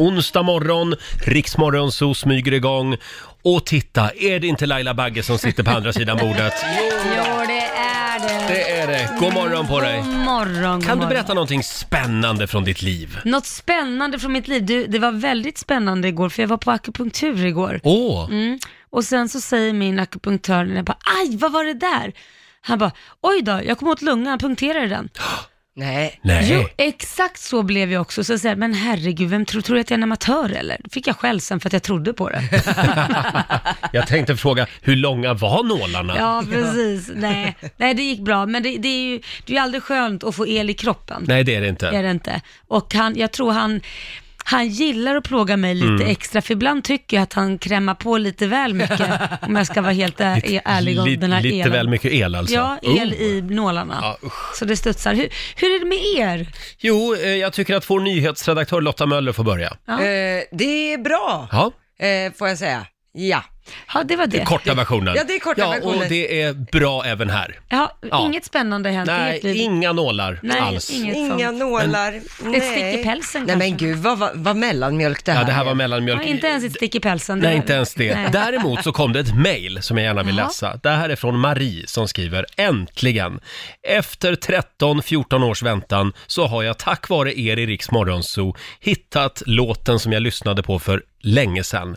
Onsdag morgon, Riksmorgon så smyger igång. Och titta, är det inte Laila Bagge som sitter på andra sidan bordet? Jo, det är det. Det är det. God morgon på dig. God morgon, god Kan du morgon. berätta någonting spännande från ditt liv? Något spännande från mitt liv. Du, det var väldigt spännande igår, för jag var på akupunktur igår. Åh, Mm. Och sen så säger min akupunktör, när jag bara, aj, vad var det där? Han bara, oj då, jag kom åt lungan, punkterade den. Nej. nej. Jo, exakt så blev jag också. Så jag säger, men herregud, vem tror, tror du att jag är en amatör eller? Det fick jag själv sen för att jag trodde på det. Jag tänkte fråga, hur långa var nålarna? ja, precis. Nej. Nej, det gick bra. Men det, det är ju det är ju aldrig skönt att få el i kroppen. Nej, det är det är inte. det inte. Och han, jag tror han, han gillar att plåga mig Mm. lite extra, för ibland tycker jag att han krämmar på lite väl mycket, om jag ska vara helt ä- ärlig om Li- den här lite elen. väl mycket el alltså? Ja, el Oh. i nålarna. Ja, så det studsar. Hur, hur är det med er? Jo, eh, jag tycker att vår nyhetsredaktör Lotta Möller får börja. Ja. Eh, det är bra, Ja, eh, får jag säga. Ja. Ja, det var det. korta versionen. Ja, det är korta ja, och versionen. det är bra även här. Ja, Ja. Inget spännande har hänt i Nej, ert liv? inga nålar Nej, alls. inget Inga sånt. nålar. nej. Ett stick i pälsen Nej kanske? men gud, vad, vad, vad mellanmjölk det här Ja, det här är. var mellanmjölk. Ja, inte ens ett stick i pälsen. Nej, var inte ens det. Nej. Däremot så kom det ett mejl som jag gärna vill Jaha. läsa. Det här är från Marie som skriver Äntligen! Efter 13-14 års väntan så har jag tack vare er i Riks Morgonzoo hittat låten som jag lyssnade på för länge sedan.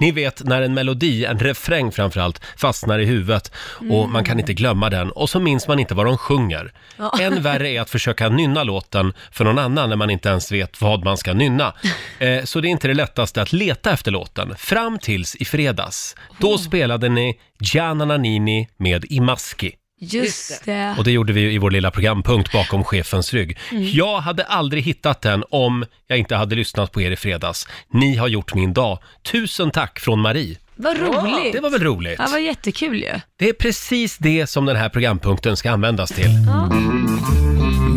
Ni vet när en melodi, en refräng framförallt, fastnar i huvudet och man kan inte glömma den och så minns man inte vad de sjunger. Mm. Ja. Än värre är att försöka nynna låten för någon annan när man inte ens vet vad man ska nynna. Eh, så det är inte det lättaste att leta efter låten. Fram tills i fredags. Då spelade ni Gianna Nannini med I maski. Just det. Och det gjorde vi ju i vår lilla programpunkt bakom chefens rygg. Jag hade aldrig hittat den om jag inte hade lyssnat på er i fredags. Ni har gjort min dag. Tusen tack från Marie. Vad roligt. Det var väl roligt? Ja, vad jättekul ju. Det är precis det som den här programpunkten ska användas till.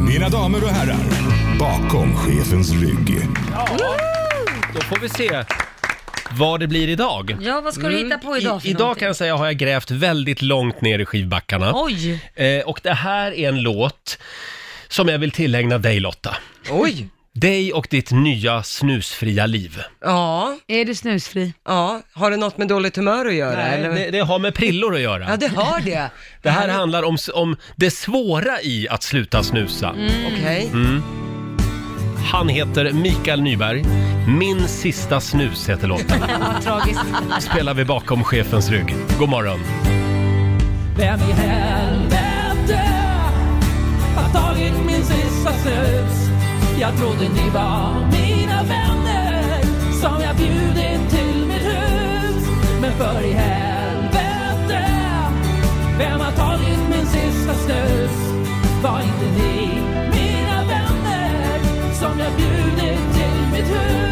Mina damer och herrar, bakom chefens rygg. Då får vi se vad det blir idag. Ja, vad ska du hitta på I, idag för idag någonting? kan jag säga har jag grävt väldigt långt ner i skivbackarna. Oj! Eh, och det här är en låt som jag vill tillägna dig Lotta. Oj. Dig och ditt nya snusfria liv. Ja, Är du snusfri? ja. Har det något med dåligt humör att göra eller? det, det har med prillor att göra. Ja, det har det. Det här handlar om, s- om det svåra i att sluta snusa. Mm. Mm. Okej. Han heter Mikael Nyberg. Min sista snus heter låten. Ja, tragiskt. Spelar vi bakom chefens rygg. God morgon. Vem i helvete har tagit min sista snus? Jag trodde ni var mina vänner som jag bjudit till mitt hus. Men för i helvete, vem har tagit min sista snus? Var inte ni mina vänner som jag bjudit till mitt hus?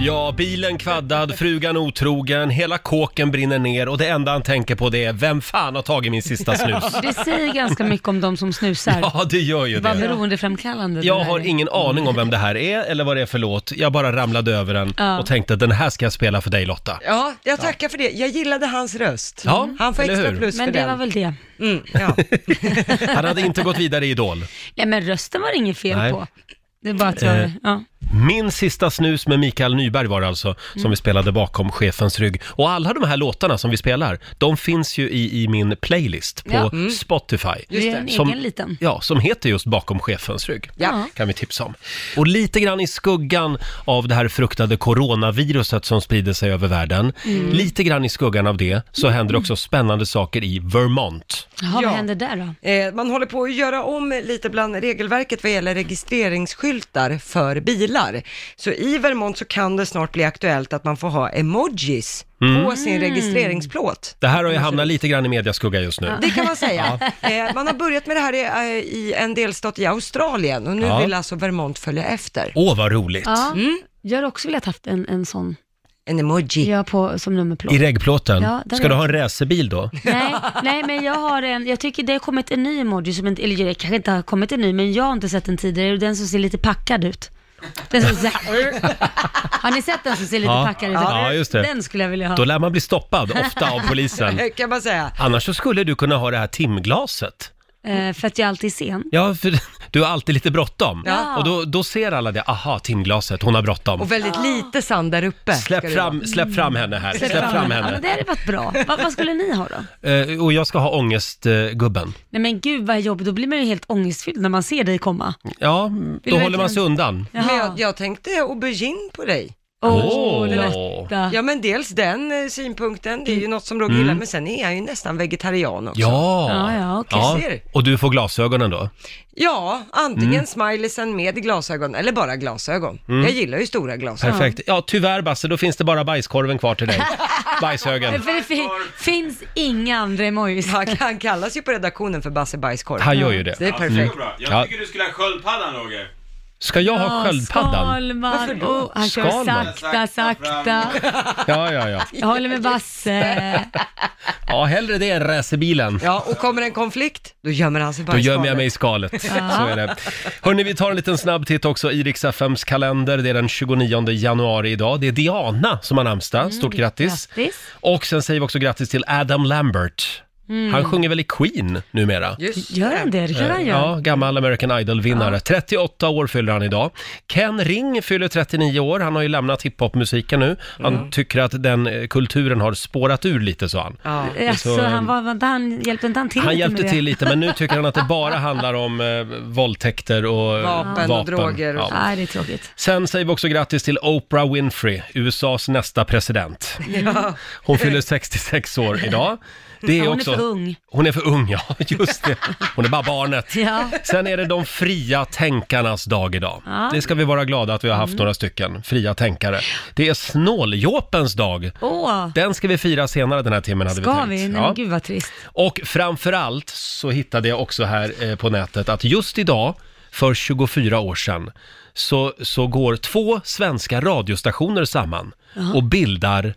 Ja, bilen kvaddad, frugan otrogen, hela kåken brinner ner och det enda han tänker på det är vem fan har tagit min sista snus? Det säger ganska mycket om de som snusar. Ja, det gör ju Vad det. beroendeframkallande det Jag där har är. ingen aning om vem det här är eller vad det är för låt. Jag bara ramlade över den Ja. och tänkte den här ska jag spela för dig Lotta. Ja, jag tackar för det. Jag gillade hans röst. Ja, Han får eller extra hur? plus för Men det den. var väl det. Mm, ja. Han hade inte gått vidare i Idol. Nej men rösten var det inget fel Nej. på. Det är bara att jag, Eh. ja. Min sista snus med Mikael Nyberg var det alltså, som Mm. vi spelade bakom chefens rygg. Och alla de här låtarna som vi spelar, de finns ju i, i min playlist på Ja. Spotify. Det är en Som- egen liten. Ja, som heter just Bakom chefens rygg. Ja. kan vi tipsa om. Och lite grann i skuggan av det här fruktade coronaviruset som sprider sig över världen, Mm. lite grann i skuggan av det så händer också spännande saker i Vermont. Jaha, Ja. vad händer där då? Eh, Man håller på att göra om lite bland regelverket vad gäller registreringsskyltar för bilar. Så i Vermont så kan det snart bli aktuellt att man får ha emojis på sin Mm. registreringsplåt. Det här har ju hamnat lite grann i mediaskugga just nu. Det kan man säga. Eh, Man har börjat med det här i, eh, i en delstat i Australien och nu Ja. vill alltså Vermont följa efter. Mm. Åh, vad roligt! Ja, jag hade också velat haft en, en sån, En emoji. jag på, som nummerplåt. I regplåten. Ja, där Ska är du jag. ha en racerbil då? Nej, nej, men jag har en, jag tycker det har kommit en ny emoji som inte, eller det kanske inte har kommit en ny, men jag har inte sett den tidigare och den som ser lite packad ut. Den som så här, har ni sett den som ser lite Ja. packad ut? Ja, just det. Den skulle jag vilja ha. Då lär man bli stoppad ofta av polisen. kan man säga. Annars så skulle du kunna ha det här timglaset. Eh, för att jag alltid är sen. Ja, för du har alltid lite bråttom. Ja. Och då, då ser alla det. Aha, timglaset, hon har bråttom. Och väldigt lite sand där uppe. ska Släpp det fram, släpp fram henne här. Släpp, fram Ja, men henne. det hade varit bra. Va, vad skulle ni ha då? Eh, och jag ska ha ångestgubben. Nej men gud vad jobbigt, då blir man ju helt ångestfylld när man ser dig komma. Ja, då du håller man sig undan. vara. Men Jaha. jag, jag tänkte aubergine på dig. Åh, Åh. Lotta. Ja men dels den eh, synpunkten, det Mm. är ju något som Roger gillar, men sen är jag ju nästan vegetarian också. Mm. Ja, Ja, ja, okej. Ser. och du får glasögonen då. Ja, antingen Mm. smileysen med glasögon eller bara glasögon. Jag gillar ju stora glasögon. Perfekt. Ja, tyvärr Basse, då finns det bara bajskorven kvar till dig. Bajshögen. För det fin- finns inga andra emojis. Han, han kallas ju på redaktionen för Basse Bajskorv. Han gör ju Det är det. Mm. perfekt. bra. Ja. Jag tycker du skulle ha sköldpaddan Roger. Ska jag ha Ja, sköldpaddan? Skalman. Oh, han kör Skalman. sakta, sakta. Ja, ja, ja. Jag håller med Basse. Ja, hellre det än racerbilen. Ja, och kommer en konflikt, då gömmer han sig i Då gömmer jag bajskorven. mig i skalet. Så är det. Hörni, vi tar en liten snabb titt också i Rix FMs kalender. Det är den 29 januari idag. Det är Diana som har namnsdag. Stort grattis. Mm, grattis. Och sen säger vi också grattis till Adam Lambert. Han sjunger väl i Queen numera? Eh, Just Gör han Mm. det? Det kanske han gör. Ja, gammal American Idol-vinnare. 38 år fyller han idag. Ken Ring fyller 39 år. Han har ju lämnat hiphopmusiken nu. Han tycker att den eh, kulturen har spårat ur lite, sa han. Ja. Alltså, Så, han, var, var inte han hjälpte inte han till Han lite hjälpte med till det? lite, men nu tycker han att det bara handlar om eh, våldtäkter och eh, Vapen vapen. och droger och Ja. så. Nej, det är tråkigt. Sen säger vi också grattis till Oprah Winfrey, USAs nästa president. Hon fyller 66 år idag. Det Ja, är hon är också, för ung. Hon är för ung, ja. Just det. Hon är bara barnet. Ja. Sen är det de fria tänkarnas dag idag. Ja. Mm. Det ska vi vara glada att vi har haft några stycken fria tänkare. Det är snåljåpens dag. Åh, Den ska vi fira senare den här timmen hade ska vi vi? tänkt. Nej, Ja. men gud vad trist. Och framförallt så hittade jag också här eh, på nätet att just idag för 24 år sedan så, så går två svenska radiostationer samman och bildar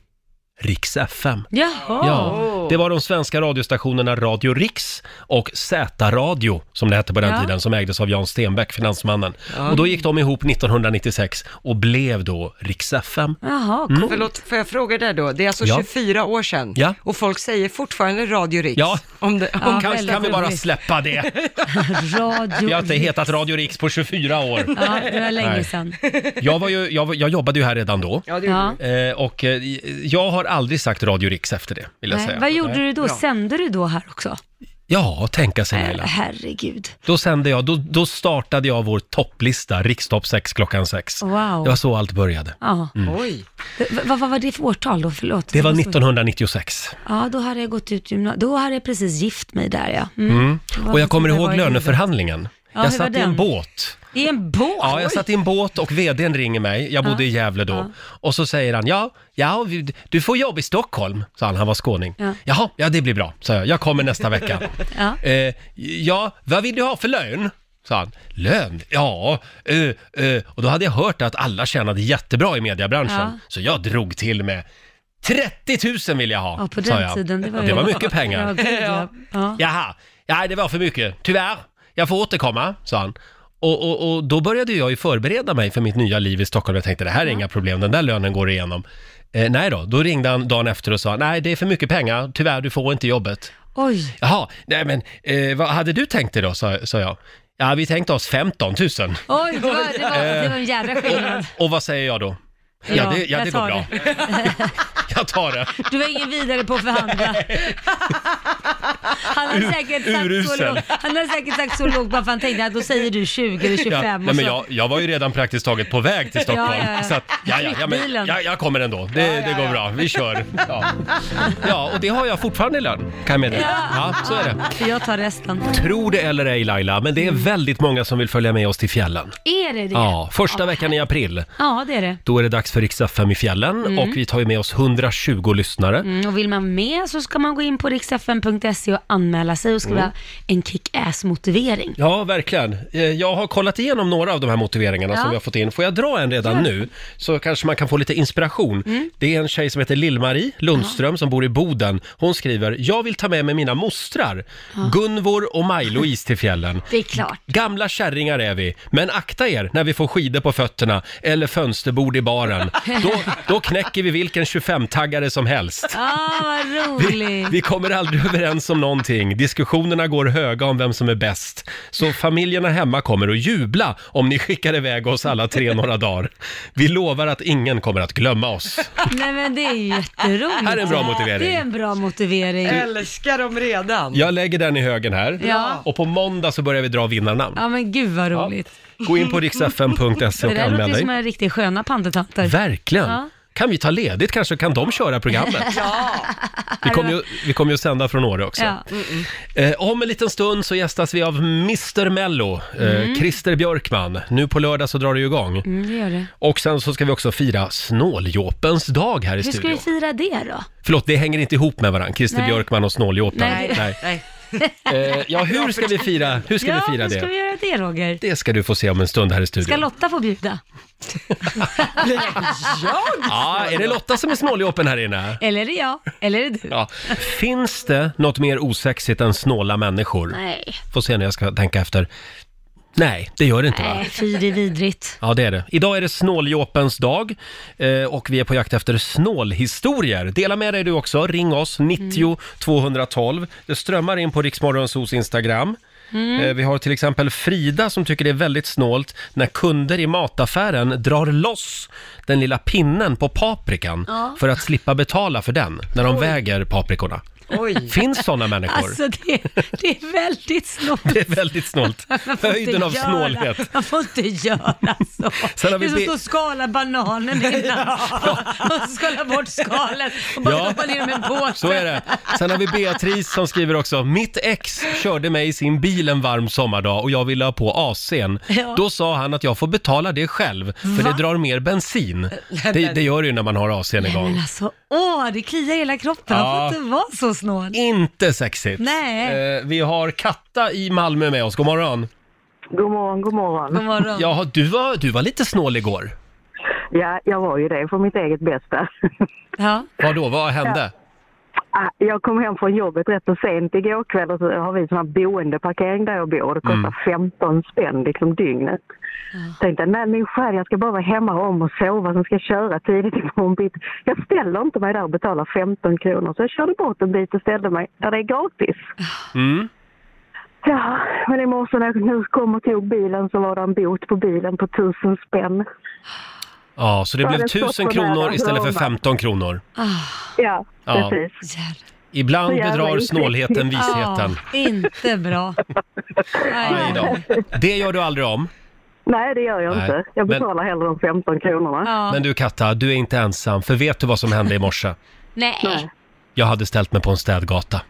Rix FM. Jaha. Ja, det var de svenska radiostationerna Radio Rix och Z-radio som det hette på den Ja. tiden som ägdes av Jan Stenbeck, finansmannen. Och då gick de ihop 1996 och blev då Rix FM. Jaha, cool. Förlåt, får jag fråga där då? Det är alltså Mm. Ja. 24 år sedan Ja. och folk säger fortfarande Radio Rix. Ja. Om det, om Ja, Kanske väldigt kan vi bara roligt. släppa det. Radio Vi har inte Rix. hetat Radio Rix på 24 år. Ja, det var länge Nej. sedan. Jag, var ju, jag, var- jag jobbade ju här redan då. ja, det Ja. gjorde Eh, och eh, jag har aldrig sagt Radio Rix efter det, vill jag Nej, säga. vad gjorde du då? Bra. Sände du då här också? Ja, tänka sig Äh, Laila. herregud. Då sände jag, då, då startade jag vår topplista, Rikstopp 6 klockan 6. Wow. Det var så allt började. Mm. Ja. du. Oj. V- Vad vad var det för årtal då? Förlåt. Det var 1996. Ja, då hade jag gått ut gymnasiet. Då hade jag precis gift mig där ja. Mm. Det var Och jag kommer precis där ihåg jag var i livet. löneförhandlingen. Ja, jag hur var satt i en den? båt. I en båt? Ja, jag satt i en båt och vdn ringer mig. Jag bodde i Gävle då. Och så säger han, ja, ja, vi- du får jobb i Stockholm, sa han. Han var skåning. Ja. Jaha, ja det blir bra, sa jag. Jag kommer nästa vecka. Ja. Eh, ja, vad vill du ha för lön? Sa han. Lön? Ja, eh, eh. Och då hade jag hört att alla tjänade jättebra i mediebranschen. Ja. Så jag drog till med 30 000 vill jag ha, Ja, på sa den jag. tiden. Det var, det ju- var mycket pengar. Ja, gud, ja. Ja. Jaha, ja, det var för mycket. Tyvärr, jag får återkomma, sa han. Och, och, och då började jag ju förbereda mig för mitt nya liv i Stockholm. Jag tänkte det här är inga problem, den där lönen går igenom. Eh, nej då, då ringde han dagen efter och sa nej det är för mycket pengar, tyvärr du får inte jobbet. Oj, Jaha, nej men eh, vad hade du tänkt dig då, sa, sa jag. Ja, vi tänkte oss 15 000. oj, det var, det var, det var en jädra skillnad. Och vad säger jag då? Ja, Ja, det, ja, jag det går tar bra. jag tar det. Du var ingen vidare på att förhandla. Han har säkert sagt så urusel. lågt, han har säkert sagt så lågt bara för han tänkte att då säger du 20 eller 25 Ja, nej, och men så. jag, jag var ju redan praktiskt taget på väg till Stockholm. Ja, ja, ja. Så att, ja, ja, ja, men, Bilen. ja, jag kommer ändå. Det, det går bra. Vi kör. Ja. ja, och det har jag fortfarande i lön, kan jag meddela. Ja, så är det. För jag tar resten. Tro det eller ej Laila, men det är väldigt många som vill följa med oss till fjällen. Är Mm. det det? Ja, första veckan i april, Ja, det är det. då är det dags för Riksdag 5 i fjällen och vi tar ju med oss 120 lyssnare. Mm, och vill man med så ska man gå in på riksfn.se och att anmäla sig och Mm. skriva en kick-ass motivering. Ja, verkligen. Eh, Jag har kollat igenom några av de här motiveringarna Ja. som vi har fått in. Får jag dra en redan Gör det. nu? Så kanske man kan få lite inspiration. Det är en tjej som heter Lill-Marie Lundström som bor i Boden. Hon skriver, jag vill ta med mig mina mostrar, Gunvor och Maj-Louise till fjällen. Det är klart. Gamla kärringar är vi, men akta er när vi får skidor på fötterna eller fönsterbord i baren. Då, då knäcker vi vilken 25-taggare som helst. Ah, vad roligt. Vi kommer aldrig överens om någonting. Diskussionerna går höga om vem som är bäst. Så familjerna hemma kommer att jubla om ni skickar iväg oss alla tre några dagar. Vi lovar att ingen kommer att glömma oss. Nej men det är ju jätteroligt. Här är en bra motivering. Det är en bra motivering. Älskar dem redan. Jag lägger den i högen här. Ja. Och på måndag så börjar vi dra vinnarnamn. Ja men gud vad roligt. Gå in på riksfm.se Det och där anmäl låter ju dig. som en riktig sköna pandetanter. Verkligen. Ja. Kan vi ta ledigt kanske? Kan de köra programmet? Vi kommer ju, vi kommer ju att sända från Åre också. Ja. Eh, om en liten stund så gästas vi av Mr Mello, eh, Christer Björkman. Nu på lördag så drar det ju igång. Mm, det gör det. Och sen så ska vi också fira snåljåpens dag här i Hur ska vi studion. fira det då? Förlåt, det hänger inte ihop med varandra, Christer Nej. Björkman och snåljåpen. Nej. Nej. Eh, ja, hur ska vi fira, hur ska ja, vi fira hur det? ska vi göra det Roger? Det ska du få se om en stund här i Ska studion. Lotta få bjuda? Ja, är det Lotta som är snåljåpen här inne? Eller är det jag? Eller är det du? Ja. Finns det något mer osexigt än snåla människor? Nej. Får se när jag ska tänka efter. Nej, det gör det inte va? Nej, fy det är vidrigt. Ja, det är det. Idag är det snåljåpens dag eh, och vi är på jakt efter snålhistorier. Dela med dig du också. Ring oss, 90 Mm. 212. Det strömmar in på Riksmorgonsos Instagram. Mm. Eh, Vi har till exempel Frida som tycker det är väldigt snålt när kunder i mataffären drar loss den lilla pinnen på paprikan för att slippa betala för den när de väger paprikorna. Oj. Finns sådana människor? Alltså det, det är väldigt snålt. Det är väldigt snålt. Man får inte Höjden av göra- snålhet. Man får inte göra så. Sen har vi Alltså. det är som bi- att stå och skala bananen innan. Och skala bort skalet och bara Ja. doppa ner dem i en påse. Så är det. Sen har vi Beatrice som skriver också, mitt ex körde mig i sin bil en varm sommardag och jag ville ha på AC'n. Ja. Då sa han att jag får betala det själv, för det drar mer Äh, bensin. Det, det gör det ju när man har AC'n Men igång. alltså, åh, det kliar i hela kroppen. Man Ja. får inte vara så snål. Inte sexigt. Nej. Eh, vi har Katta i Malmö med oss, god morgon. God morgon, god morgon. God morgon. Jaha, du var, du var lite snål igår. Ja, jag var ju det för mitt eget bästa. Ja. Vad då, vad hände? Ah, Jag kom hem från jobbet rätt så sent igår kväll och så har vi sån här boendeparkering där jag bor. Det kostar 15 spänn liksom dygnet. Tänkte nej min själ, jag ska bara vara hemma om och sova, sen ska jag köra tidigt imorgon bitti. Jag ställer inte mig där och betalar 15 kronor så jag körde bort en bit och ställde mig där det är gratis. Mm. Ja, men i morse när jag nu kom och tog bilen så var det en bot på bilen på 1000 spänn. Ja, så det Ja, blev det står 1000 så nära kronor istället för Roma. 15 kronor. Ja, Ja. precis. Jävlar. Ibland Så jävla bedrar otäckt. snålheten visheten. Ah, inte bra. Nej då. Det gör du aldrig om. Nej, det gör jag Nej, inte. Jag men- betalar hellre de 15 kronorna. Ja. Men du Katta, du är inte ensam, för vet du vad som hände i morse? Nej. Jag hade ställt mig på en städgata,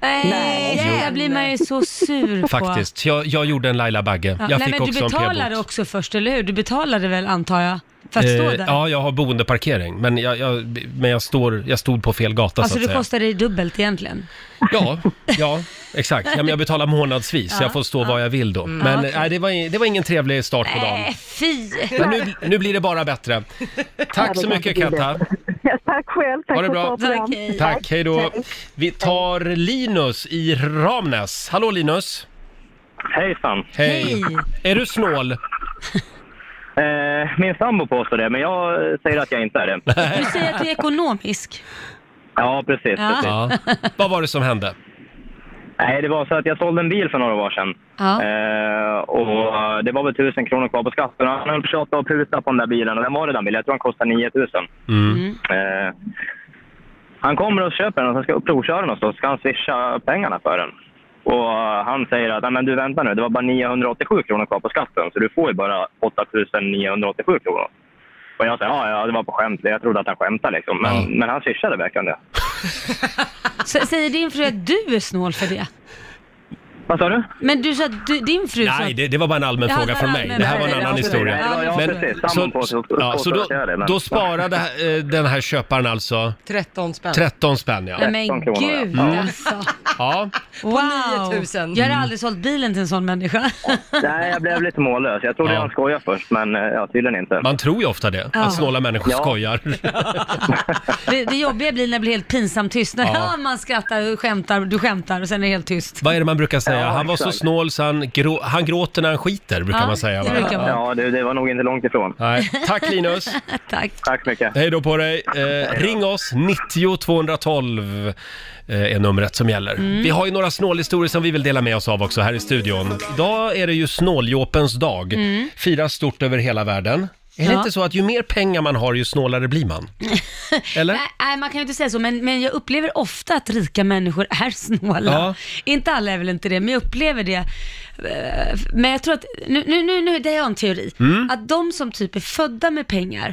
Nej, det här blir man ju så sur på. faktiskt. Jag, jag gjorde en Laila Bagge. Ja. Jag Nej, fick men du också en betalade p-bot. också först, eller hur? Du betalade väl, antar jag, för att stå Eh, där? ja, jag har boendeparkering, men jag, jag, men jag, står, jag stod på fel gata alltså, så att du säga. kostade dig dubbelt egentligen. Ja, ja, exakt. Ja, men jag betalar månadsvis, så jag får stå var jag vill då. Men nej, det, var, in- det var ingen trevlig start på dagen. Mm. Nej, fy! Men nu, nu blir det bara bättre. Tack så det mycket kanske blir Katta. Ja, tack själv. Tack Ha det för bra. ett program. Tack, hej. Tack, hej då. Vi tar Linus i Ramnäs. Hallå Linus! Hejsan. Hej! Hej. Är du snål? Eh, min sambo påstår det, men jag säger att jag inte är det. Du säger att du är ekonomisk. Ja, precis. Ja. precis. Ja. Vad var det som hände? Nej, det var så att jag sålde en bil för några år sedan. Ja. Eh, och eh, det var väl tusen kronor kvar på skatten. Han höll på att tjata och puta på den där bilen. Och den var redan billig. Jag tror han kostade 9000. Mm. Eh, han kommer och köper den och sen ska jag provköra den och så ska han swisha pengarna för den. Och eh, han säger att "Nej, men du vänta nu, det var bara 987 kronor kvar på skatten så du får ju bara 8987 kronor. Och jag säger ja, ja, det var på skämt. Jag trodde att han skämtade liksom. Men, Ja. men han swishade verkligen det. Så, säger din fru att du är snål för det? Vad sa du? Men du sa att du, din fru sa... Nej, det, det var bara en allmän Ja, fråga det var från en mig. allmän Det här var en fråga. annan Ja, precis. historia. Ja, ja, precis. Samman på- så, på- ja, på- så på- då, på- på- då sparade eh, den här köparen alltså 13 spänn. 13 spänn ja. Nej, men 13 kronor, ja. gud Mm. Ja. alltså. ja. Wow. 9000. Jag har aldrig sålt bilen till en sån människa. Nej, jag blev lite mållös. Jag trodde Ja. han skojade först, men eh, ja, tydligen inte. Man tror ju ofta det, Ja. att snåla människor Ja. skojar. Det, det jobbiga blir när det blir helt pinsamt tyst. När Ja. man skrattar och skämtar, du skämtar och sen är det helt tyst. Vad är det man brukar säga? Ja, han var så exakt. snål så han, grå, han gråter när han skiter, brukar Ja, man säga. det va? brukar man. Ja, det, det var nog inte långt ifrån. Nej. Tack Linus! Tack. Tack så mycket. Hej då på dig! Eh, ring oss, 90 212 eh, är numret som gäller. Mm. Vi har ju några snålhistorier som vi vill dela med oss av också här i studion. Idag är det ju snåljåpens dag. Firas stort över hela världen. Är det Mm. Ja. inte så att ju mer pengar man har, ju snålare blir man? Eller? Nej, nej, man kan ju inte säga så, men, men jag upplever ofta att rika människor är snåla. Ja. Inte alla är väl inte det, men jag upplever det. Eh, Men jag tror att, nu, nu, nu, nu det är jag en teori, Mm. att de som typ är födda med pengar,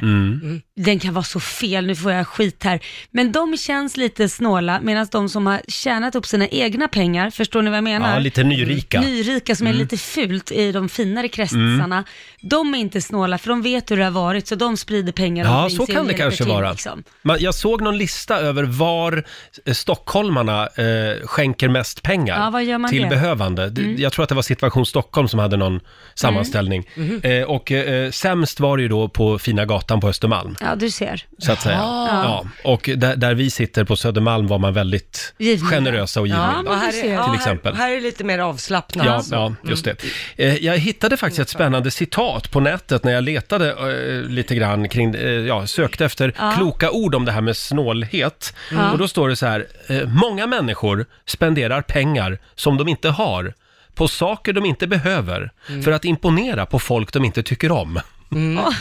den kan vara så fel, nu får jag skit här, men de känns lite snåla, medan de som har tjänat upp sina egna pengar, förstår ni vad jag menar? Ja, lite Mm. nyrika. nyrika som är lite fult i de finare kretsarna, Mm. de är inte snåla för de vet hur det har varit så de sprider pengar Ja, omkring så sig kan och det hjälper kanske till, vara. liksom. Man, jag såg någon lista över var eh, stockholmarna eh, skänker mest pengar Ja, vad gör man till det? Mm. behövande. Det- Jag tror att det var Situation Stockholm som hade någon sammanställning. Mm. Mm-hmm. Eh, och eh, sämst var det ju då på Fina gatan på Östermalm, Ja, du ser. så att säga. Ja. Och där, där vi sitter på Södermalm var man väldigt Givna. generösa och givmilda. Ja, men Och här, du är, ser. ja, Till här, exempel. här är lite mer avslappnat. Mm. Ja, ja, just det. Mm. Eh, Jag hittade faktiskt ett spännande citat på nätet när jag letade eh, lite grann kring, eh, ja, sökte efter Ja. kloka ord om det här med snålhet. Ja. Och då står det så här, eh, många människor spenderar pengar som de inte har på saker de inte behöver Mm. för att imponera på folk de inte tycker om.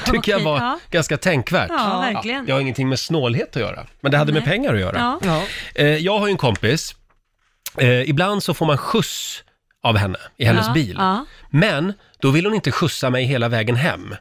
Tycker jag Okej, var ja. ganska tänkvärt. Ja, verkligen. Det har ingenting med snålhet att göra, men det hade med pengar att göra. Ja. Ja. Eh, jag har ju en kompis. Eh, ibland så får man skjuts av henne i hennes Ja, bil. ja. Men då vill hon inte skjutsa mig hela vägen hem.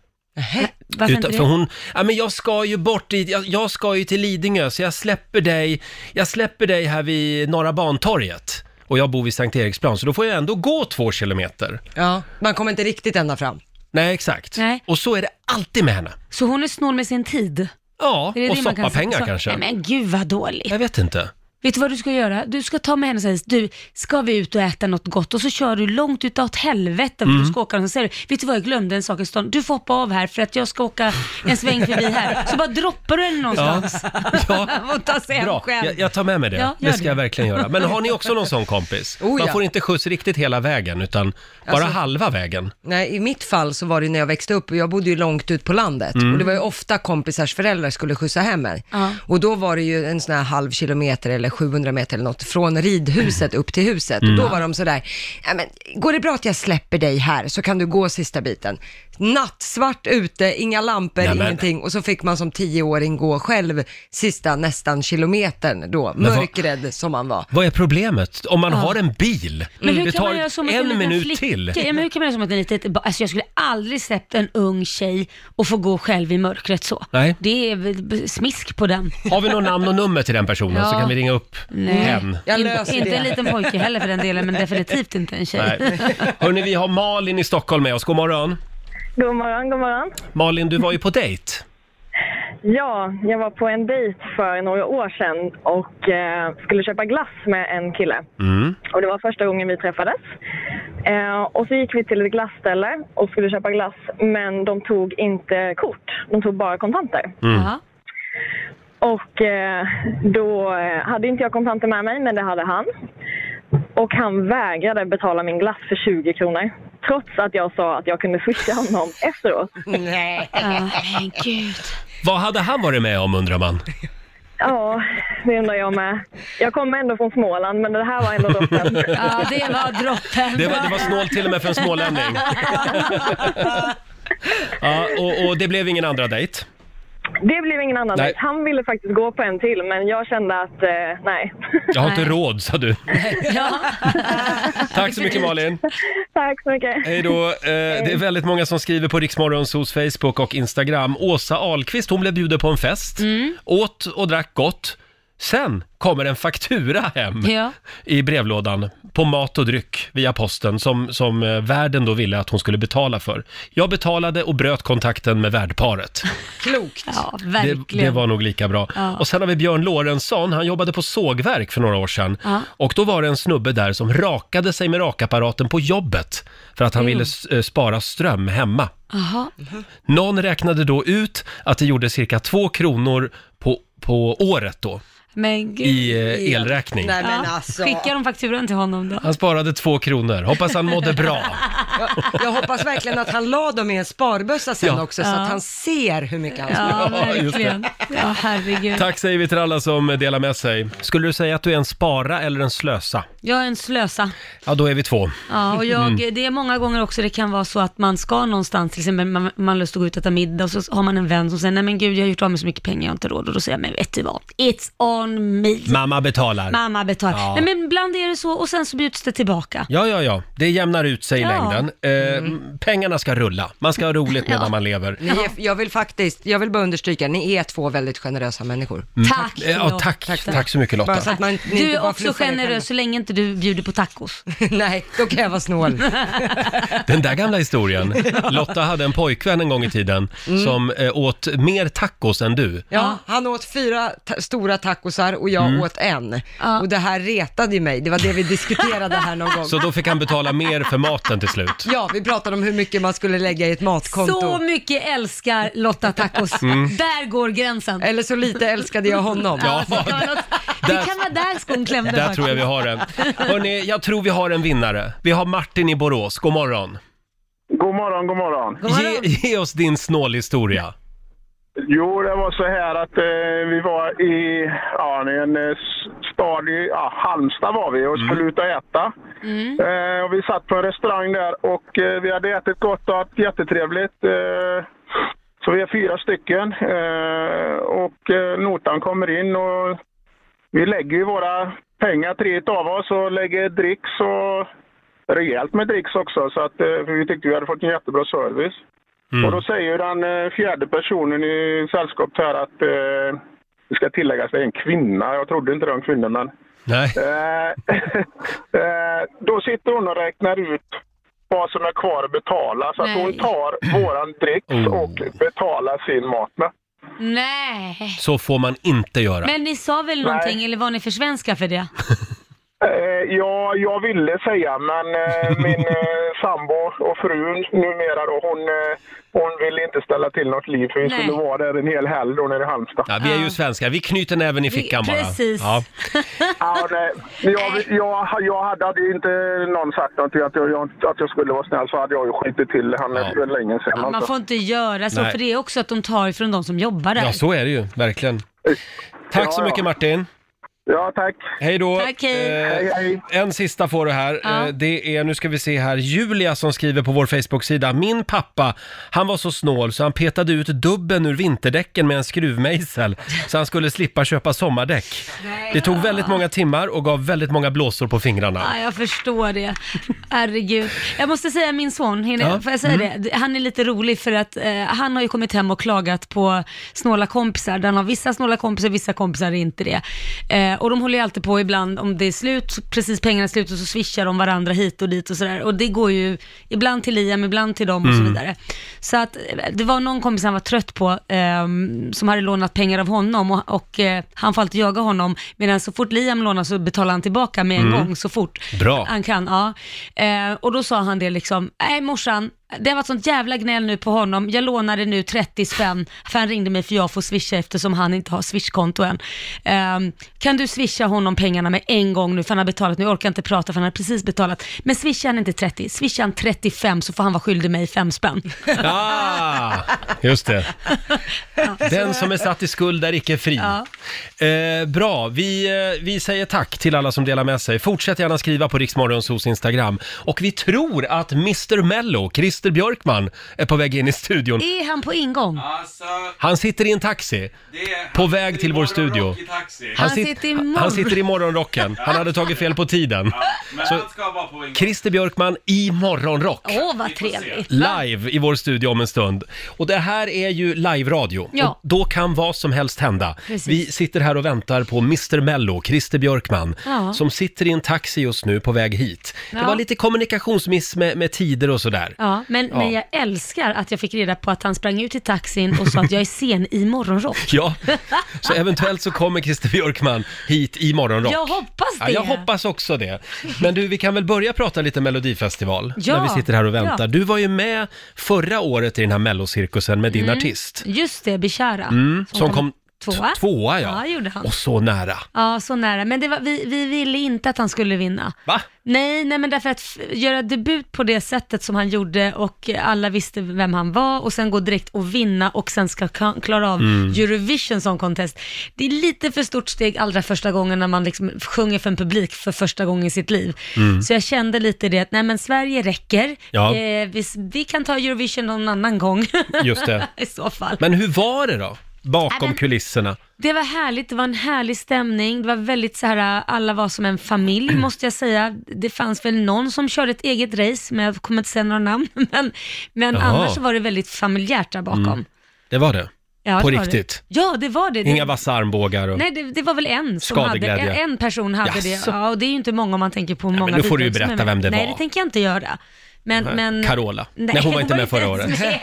Varför inte Utan- det? för hon, ja men jag ska ju bort dit, jag, jag ska ju till Lidingö så jag släpper dig, jag släpper dig här vid Norra Bantorget. Och jag bor vid Sankt Eriksplan så då får jag ändå gå två kilometer. Ja, man kommer inte riktigt ända fram. Nej exakt. Nej. Och så är det alltid med henne. Så hon är snål med sin tid? Är Ja, det och det man kan soppa pengar säga? Så- kanske. Nej, men gud vad dåligt. Jag vet inte. Vet du vad du ska göra? Du ska ta med henne och säga, du, ska vi ut och äta något gott? Och så kör du långt utaåt helvete för Mm. du ska åka och så säger du, vet du vad jag glömde en sak i stan? Du får hoppa av här för att jag ska åka en sväng förbi här. Så bara droppar du henne någonstans. Ja. och tar sig hem Bra, själv. jag, jag tar med mig det. Ja, det gör ska det. jag verkligen göra. Men har ni också någon sån kompis? Oh, Man ja. får inte skjuts riktigt hela vägen, utan bara Alltså- halva vägen. Nej, i mitt fall så var det när jag växte upp och jag bodde ju långt ut på landet Mm. och det var ju ofta kompisars föräldrar skulle skjutsa hem mig. Ja. Och då var det ju en sån här halv kilometer eller 700 meter eller något från ridhuset upp till huset och Mm. då var de sådär, "Ja, men går det bra att jag släpper dig här så kan du gå sista biten. Nattsvart ute, inga lampor, Nämen. ingenting och så fick man som tioåring gå själv sista nästan kilometern då, vad- mörkrädd som man var. Vad är problemet? Om man har en bil, Men hur Mm, det kan tar man göra så mot en, en liten minut flicka? till. Ja, men hur kan man göra så mot en liten ba- Alltså jag skulle aldrig släppt en ung tjej och få gå själv i mörkret så. Nej. Det är väl b- smisk på den. Har vi något namn och nummer till den personen så Ja. kan vi ringa upp hen. Jag In- löser inte det. en liten pojke heller för den delen, men definitivt inte en tjej. Nej. Hörni, vi har Malin i Stockholm med oss. God morgon. God morgon, god morgon. Malin, du var ju på dejt. Ja, jag var på en dejt för några år sedan och eh, skulle köpa glass med en kille. Mm. Och det var första gången vi träffades. Eh, och så gick vi till ett glasställe och skulle köpa glass men de tog inte kort, de tog bara kontanter. Ja. Och eh, då eh, hade inte jag kontanter med mig men det hade han. Och han vägrade betala min glass för 20 kronor. Trots att jag sa att jag kunde swisha honom efteråt. Nej. Ja, Ah, men gud. Vad hade han varit med om undrar man? Ja, det undrar jag med. Jag kommer ändå från Småland, men det här var ändå droppen. Ja, det var droppen. Det var, det var snålt till och med för en smålänning. Ja, och, och det blev ingen andra dejt. Det blev ingen annan Nej. dejt. Han ville faktiskt gå på en till, men jag kände att eh, nej. Jag har inte Nej. råd, sa du. Ja. Tack så mycket Malin. Tack så mycket. Hej då. Eh, det är väldigt många som skriver på Riksmorgonsos Facebook och Instagram. Åsa Ahlqvist, hon blev bjuden på en fest. Åt och drack gott. Sen kommer en faktura hem Ja. i brevlådan på mat och dryck via posten som, som eh, värden då ville att hon skulle betala för. Jag betalade och bröt kontakten med värdparet. Klokt. Ja, Det, verkligen. det var nog lika bra. Ja. Och sen har vi Björn Lorentzon, han jobbade på sågverk för några år sedan. Ja. Och då var det en snubbe där som rakade sig med rakapparaten på jobbet för att han Mm. ville s- eh, spara ström hemma. Aha. Någon räknade då ut att det gjorde cirka två kronor på, på året då Men gud. i eh, elräkning. Nej men Ja, alltså. Skicka de fakturan till honom då. Han sparade två kronor. Hoppas han mådde bra. Jag, jag hoppas verkligen att han la dem i en sparbössa sen Ja. också så att han ser hur mycket han sparar. Ja, Ja, just det. verkligen. Ja, herregud. Tack säger vi till alla som delar med sig. Skulle du säga att du är en spara eller en slösa? Jag är en slösa. Ja, då är vi två. Mm. Ja, och jag, Mm. det är många gånger också det kan vara så att man ska någonstans, till exempel man, man har lust att gå ut och äta middag och så har man en vän som säger, nej men gud jag har gjort av med så mycket pengar, jag har inte råd. Och då säger jag, men vet du vad, it's on me. Mamma betalar. Mamma betalar. Ja. Nej men ibland är det så och sen så bjuds det tillbaka. Ja, ja, ja. Det jämnar ut sig i Ja. Mm. längden. Eh, Pengarna ska rulla. Man ska ha roligt medan man lever. Ni är, jag vill faktiskt, jag vill bara understryka, ni är två väldigt generösa människor. Tack, Eh, Ja, Lotta. tack, tack, tack så mycket Bara Lotta. så att man, ni Du inte är bara också fluffar er generös så länge inte du bjuder på tacos. själva. Nej, då kan jag vara snål. Den där gamla historien. Lotta hade en pojkvän en gång i tiden Mm. som eh, åt mer tacos än du. Ja, han åt fyra ta- stora tacosar och jag Mm. åt en. Ja. Och det här retade ju mig, det var det vi diskuterade här någon gång. Så då fick han betala mer för maten till slut. Ja, vi pratade om hur mycket man skulle lägga i ett matkonto. Så mycket älskar Lotta tacos. Där går gränsen. Mm. Eller så lite älskade jag honom. Ja. Alltså, det, var något, det kan vara där skon klämde Där tror jag vi faktiskt. har den. Hörrni, jag tror vi har en vinnare. Vi har Martin i Borås. God morgon. God morgon, god morgon. God morgon. Ge, ge oss din snålhistoria. Jo, det var så här att eh, vi var i ja, en eh, s- stad i ja, Halmstad var vi Mm. och skulle ut och äta. Eh, och vi satt på en restaurang där och eh, vi hade ätit gott och haft jättetrevligt. Eh, så vi är fyra stycken eh, och eh, notan kommer in och vi lägger ju våra pengar, tre av oss, och lägger dricks och rejält med dricks också. Så att, eh, för vi tyckte vi hade fått en jättebra service. Och då säger den eh, fjärde personen i sällskapet här att eh, det ska tilläggas, det är en kvinna. Jag trodde inte det var en kvinna, men... Nej. Eh, eh, då sitter hon och räknar ut vad som är kvar att betala. Så att Nej. hon tar våran dricks Oh. och betalar sin mat med. Nej. Så får man inte göra. Men ni sa väl någonting, eller var ni för svenska för det? Eh, ja, jag ville säga, men eh, min eh, sambo och frun numera då, hon, eh, hon ville inte ställa till något liv för vi Nej. skulle vara där en hel helg då nere i Halmstad. Ja, vi är ju svenskar. Vi knyter näven i fickan bara. precis. Ja. Ja, nej. Jag, jag, jag hade, hade inte någon sagt något att jag, jag, att jag skulle vara snäll så hade jag ju skitit till han Ja. för länge sedan. Man alltså. får inte göra så, Nej. för det är också att de tar från de som jobbar där. ja, så är det ju. Verkligen. Tack så Ja, ja. mycket Martin. Ja, tack. Hej då. Tack, hej. Eh, hej. en sista får du här. Ja. Eh, det är, nu ska vi se här, Julia som skriver på vår Facebook-sida. Min pappa, han var så snål så han petade ut dubben ur vinterdäcken med en skruvmejsel så han skulle slippa köpa sommardäck. Det tog väldigt många timmar och gav väldigt många blåsor på fingrarna. Ja, jag förstår det. Herregud. Jag måste säga min son, hinner, Ja. får jag säga det? Han är lite rolig för att eh, han har ju kommit hem och klagat på snåla kompisar. Där han har vissa snåla kompisar, vissa kompisar är inte det. Eh, och de håller ju alltid på ibland om det är slut, så- precis pengarna är slut och så swishar de varandra hit och dit och sådär. Och det går ju ibland till Liam, ibland till dem och så vidare. Så att eh, det var någon kompis han var trött på ehm, som hade lånat pengar av honom och, och eh, han får alltid jaga honom. Medan så fort Liam lånar så betalar han tillbaka med en gång så fort. Bra. Han kan, ja. Eh, och då sa han det liksom, nej morsan, det har varit sånt jävla gnäll nu på honom. Jag lånade nu 30 spänn, för han ringde mig för jag får swisha eftersom han inte har swishkonto än. Eh, kan du swisha honom pengarna med en gång nu, för han har betalat nu. Jag orkar inte prata för han har precis betalat. Men swisha han inte 30, swisha han 35 så får han vara skyldig mig 5 spänn. Ah, just det. Den som är satt i skuld är icke fri. Eh, bra, vi, eh, vi säger tack till alla som delar med sig. Fortsätt gärna skriva på Riksmorgonsos Instagram. Och vi tror att Mr Mello, Chris Christer Björkman är på väg in i studion. Är han på ingång? Alltså, Han sitter i en taxi. det är... På väg till vår studio. I taxi. Han sit- sitter i han- morgon- han sitter i morgonrocken. Han hade tagit fel på tiden. Men Så- han ska vara på en Christer Björkman i morgonrock. Åh, vad Vi får se. trevligt. va? Live i vår studio om en stund. Och det här är ju live-radio. Ja. Och Då kan vad som helst hända. Precis. Vi sitter här och väntar på Mr Mello, Christer Björkman, Ja. som sitter i en taxi just nu på väg hit. Det Ja. var lite kommunikationsmiss med, med tider och sådär. Ja, men, men jag älskar att jag fick reda på att han sprang ut i taxin och sa att jag är sen i morgonrock. Ja, så eventuellt så kommer Christer Björkman hit i morgonrock. Jag hoppas det. Ja, jag hoppas också det. Men du, vi kan väl börja prata lite Melodifestival Ja, när vi sitter här och väntar. ja. Du var ju med förra året i den här mellocirkusen med din Mm. artist. Mm. Just det, Bishara. Som kom tvåa. t- tvåa ja. Ja, gjorde han. Och så nära. Ja, så nära. Men det var, vi, vi ville inte att han skulle vinna. Va? Nej, nej men därför att f- göra debut på det sättet som han gjorde och alla visste vem han var och sen gå direkt och vinna och sen ska ka- klara av Mm. Eurovision Song Contest. Det är lite för stort steg allra första gången när man liksom sjunger för en publik för första gången i sitt liv. Så jag kände lite det att nej men Sverige räcker. Mm. Ja. Eh, vi, s- vi kan ta Eurovision någon annan gång Just det. i så fall. Men hur var det då? Bakom Nej, men- kulisserna. Det var härligt, det var en härlig stämning, det var väldigt så här, alla var som en familj Mm. måste jag säga. Det fanns väl någon som körde ett eget race, men jag kommer inte säga några namn. Men, men Jaha. annars så var det väldigt familjärt där bakom. Mm. Det var det. Ja, På det var riktigt? Det. Ja, det var det. det Inga vassa armbågar och... Nej, det, det var väl en som hade, en, Skadeglädje. en person hade Jaså? det. Ja, och det är ju inte många om man tänker på hur många men nu får du ju bidrag som är berätta med. vem det Nej, var. det tänker jag inte göra. Men, men... Carola. Nej, hon var inte med förra året. ens med.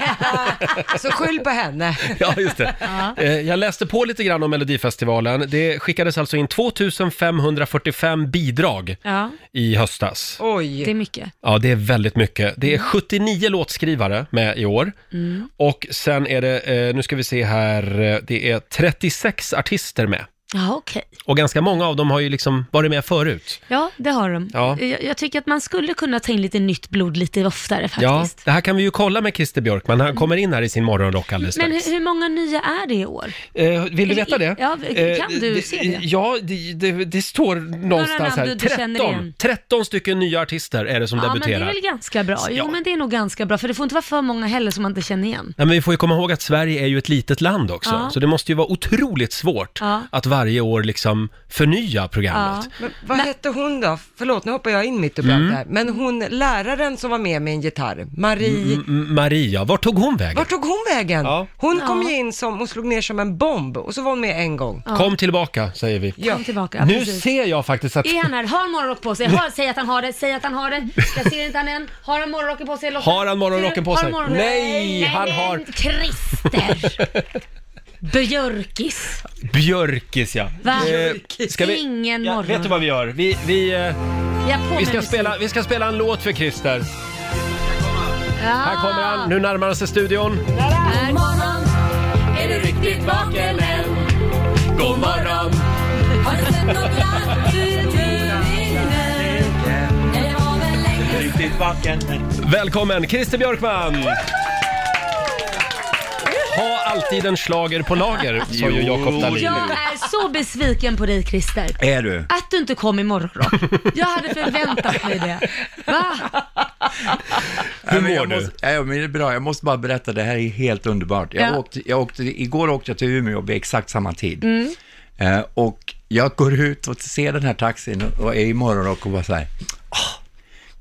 Så skyll på henne. Ja, just det. Eh, Jag läste på lite grann om Melodifestivalen. Det skickades alltså in 2545 bidrag Ja, i höstas. det är Oj. mycket. Ja, det är väldigt mycket. Det Mm. är 79 låtskrivare med i år. Och sen är det, eh, nu ska vi se här, eh, det är 36 artister med. Ja, okej. Och ganska många av dem har ju liksom varit med förut. Ja, det har de. Ja. Jag, jag tycker att man skulle kunna ta in lite nytt blod lite oftare Ja, faktiskt. Mm. det här kan vi ju kolla med Christer Björkman. Han kommer in här i sin morgonrock alldeles Men strax. hur, hur många nya är det i år? Eh, vill du Eller- veta det? ja, kan Eh, du se det? Ja, det, det, det står någonstans namn här. du- du känner 13, igen. 13 stycken nya artister är det som Ja, men det debuterar. är väl ganska bra. Jo, Ja. men det är nog ganska bra, för det får inte vara för många heller som man inte känner igen. Nej, men vi får ju komma ihåg att Sverige är ju ett litet land också, Ja. så det måste ju vara otroligt svårt Ja. att varje år liksom förnya programmet. Men vad hette hon då? Förlåt, nu hoppar jag in mitt ibland Mm. här. Men hon, läraren som var med med en gitarr, Marie, M- Maria, vart tog hon vägen? vart tog hon vägen? Mm. Ja. Hon kom Ja. ju in som, hon slog ner som en bomb och så var hon med en gång. Kom tillbaka, säger vi. Kom tillbaka. Ja, nu precis. ser jag faktiskt att... Är han här? Har han morgonrock på sig? Har, säg att han har det, säg att han har det. Jag ser inte han än. Har han morgonrocken på sig? Lotta? Har han morgonrocken på Har sig? han morgonrocken? Nej, han men har- Christer! Björkis. Björkis, ja. Va? Eh, ska vi... Ingen ja, morgon. vet du vad vi gör? Vi, vi, eh, Jag på vi, med ska musik. spela, vi ska spela en låt för Christer. Ja. Här kommer han, nu närmar han sig studion. God morgon, är du riktigt vaken än? God morgon! Har du sett något glatt ut ur Det var väl länge Välkommen Christer Björkman! Ha alltid en schlager på lager, sa ju Jakob Dahlin. Jag är så besviken på dig Christer. Är du? Att du inte kom imorgon då. Jag hade förväntat mig det. Va? Nej, Hur men mår jag du? Måste, ja, men det är bra. Jag måste bara berätta, det här är helt underbart. Jag Ja. åkte, jag åkte, igår åkte jag till Umeå vid exakt samma tid. Mm. Mm. Eh, och jag går ut och ser den här taxin och- och är i morgonrock och bara så här, "Ah,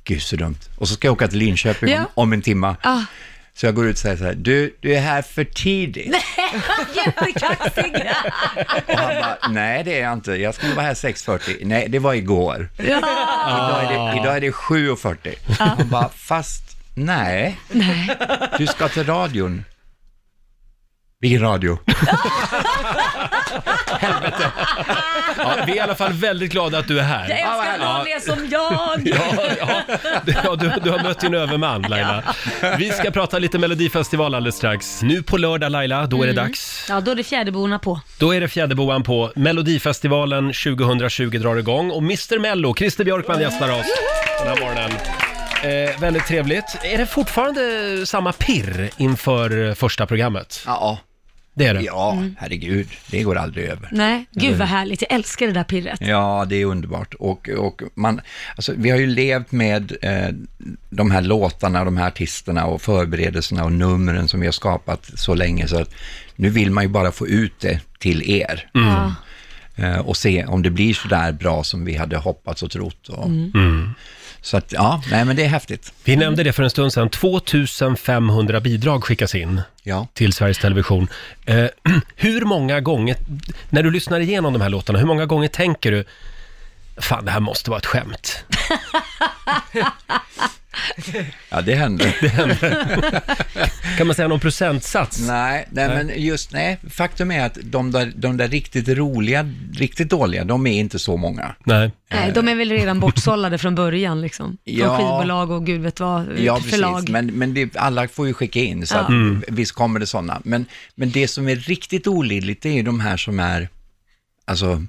gud så dumt. Och så ska jag åka till Linköping Ja. om, om en timma. Ah. Så jag går ut och säger så här, du, du är här för tidigt. Nej. Jättekaxig. Och han bara, nej det är jag inte, jag skulle vara här 6.40. Nej, det var igår. Ja. Ah. Idag är det, idag är det 7.40. Han bara, fast nej. Du ska till radion. Vilken radio? Ja, vi är i alla fall väldigt glada att du är Jag här. älskar någon är som jag. Ja, ja. Ja, du, du har mött din överman Laila. Vi ska prata lite Melodifestival alldeles strax. Nu på lördag Laila, då är det Mm. dags. Ja, då är det fjäderborna på. Då är det fjäderboan på. Melodifestivalen 2020 drar igång och Mr Mello, Christer Björkman gästar oss den här morgonen. Eh, väldigt trevligt. Är det fortfarande samma pirr inför första programmet? Ja. Det är det. Ja, herregud. Det går aldrig över. Nej, gud vad härligt. Jag älskar det där pirret. Ja, det är underbart. Och, och man, alltså, vi har ju levt med eh, de här låtarna, de här artisterna och förberedelserna och numren som vi har skapat så länge så att nu vill man ju bara få ut det till er. Mm. Ja. Eh, och se om det blir så där bra som vi hade hoppats och trott. Och, Mm. Så att, ja, nej men det är häftigt. Vi nämnde det för en stund sedan, 2500 bidrag skickas in till Sveriges Television. Eh, hur många gånger, när du lyssnar igenom de här låtarna, hur många gånger tänker du, fan det här måste vara ett skämt? ja, det händer. Det händer. kan man säga någon procentsats? Nej, nej, Nej. men just nej. Faktum är att de där, de där riktigt roliga, riktigt dåliga, de är inte så många. Nej. Nej, de är väl redan bortsållade från början liksom. Från Ja. skivbolag och gud vet vad, eh, Ja, förlag. precis. Men, men det, alla får ju skicka in, så Ja. att, Mm. visst kommer det sådana. Men, men det som är riktigt olidligt, det är ju de här som är, alltså...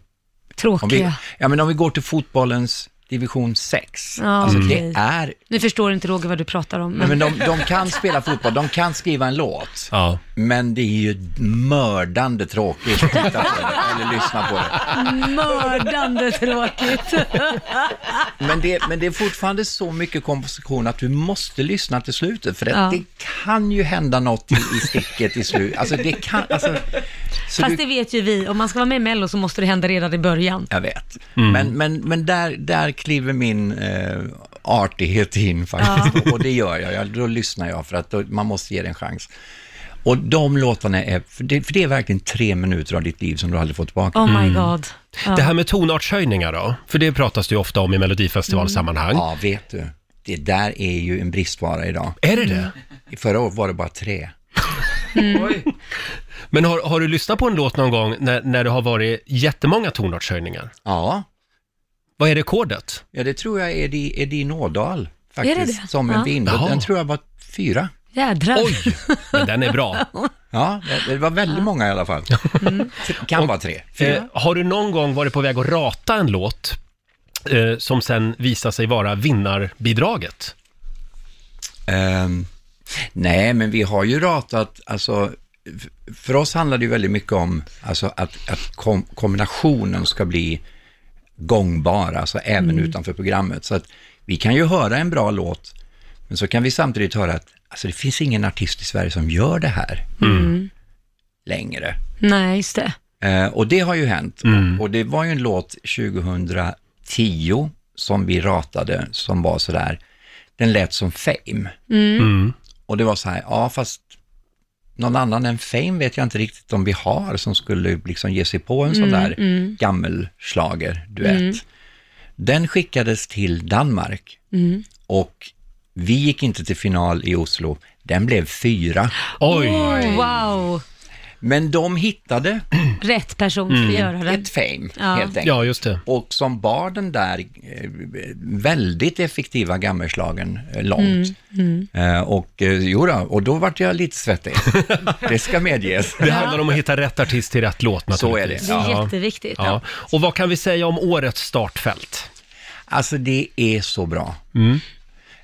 Tråkiga. Om vi, ja, men om vi går till fotbollens division 6. Ja, alltså, okej. det är... Nu förstår inte Roger vad du pratar om. Nej, men de, de kan spela fotboll, de kan skriva en låt, men det är ju mördande tråkigt att titta på det, eller lyssna på det. Mördande tråkigt. Men det, men det är fortfarande så mycket komposition att du måste lyssna till slutet, för att Ja. det kan ju hända något i, i sticket i slutet. Alltså det kan, alltså, så Fast du- det vet ju vi, om man ska vara med i Mello så måste det hända redan i början. jag vet. Mm. Men, men, men där, där kliver min eh, artighet in faktiskt, och det gör jag. jag. Då lyssnar jag, för att då, man måste ge det en chans. Och de låtarna är, för det, för det är verkligen tre minuter av ditt liv som du aldrig får tillbaka. Oh my god. Ja. Mm. Det här med tonartshöjningar då? För det pratas det ju ofta om i Melodifestivalsammanhang. Mm. Ja, vet du. Det där är ju en bristvara idag. Är det det? Förra året var det bara tre. Men har, har du lyssnat på en låt någon gång när, när det har varit jättemånga tonartshöjningar? Ja. Vad är rekordet? Ja, det tror jag är di- är din Ådal, faktiskt, Är det det? som en Ja. vind. Och Jaha. Den tror jag var fyra. Jädrar. Men den är bra. Ja, det- det var väldigt många i alla fall. Kan vara tre. Eh, har du någon gång varit på väg att rata en låt eh, som sen visar sig vara vinnarbidraget? Ehm, nej, men vi har ju ratat, alltså, f- för oss handlar det ju väldigt mycket om alltså, att, att kom, kombinationen ska bli gångbar, alltså även Mm. utanför programmet. Så att vi kan ju höra en bra låt, men så kan vi samtidigt höra att alltså, det finns ingen artist i Sverige som gör det här Mm. längre. Nej, just det. Eh, och det har ju hänt. Och, och det var ju en låt 2010 som vi ratade, som var sådär, den lät som Fame. Mm. Mm. Och det var så här, ja fast någon annan än Fame vet jag inte riktigt om vi har som skulle liksom ge sig på en sån Mm, där mm. gammelschlager duett. Mm. Den skickades till Danmark Mm. och vi gick inte till final i Oslo. Den blev fyra. Oh, wow. Men de hittade Rätt person skulle Mm. göra det. Ett fame, Ja. helt enkelt. Ja, just det. Och som bar den där eh, väldigt effektiva gammelslagen eh, långt. Mm. Eh, och eh, jo då, och då vart jag lite svettig. det ska medges. Det handlar om att hitta rätt artist till rätt låt Så är det. naturligtvis. Det är jätteviktigt. Ja. Och vad kan vi säga om årets startfält? Alltså det är så bra. Mm.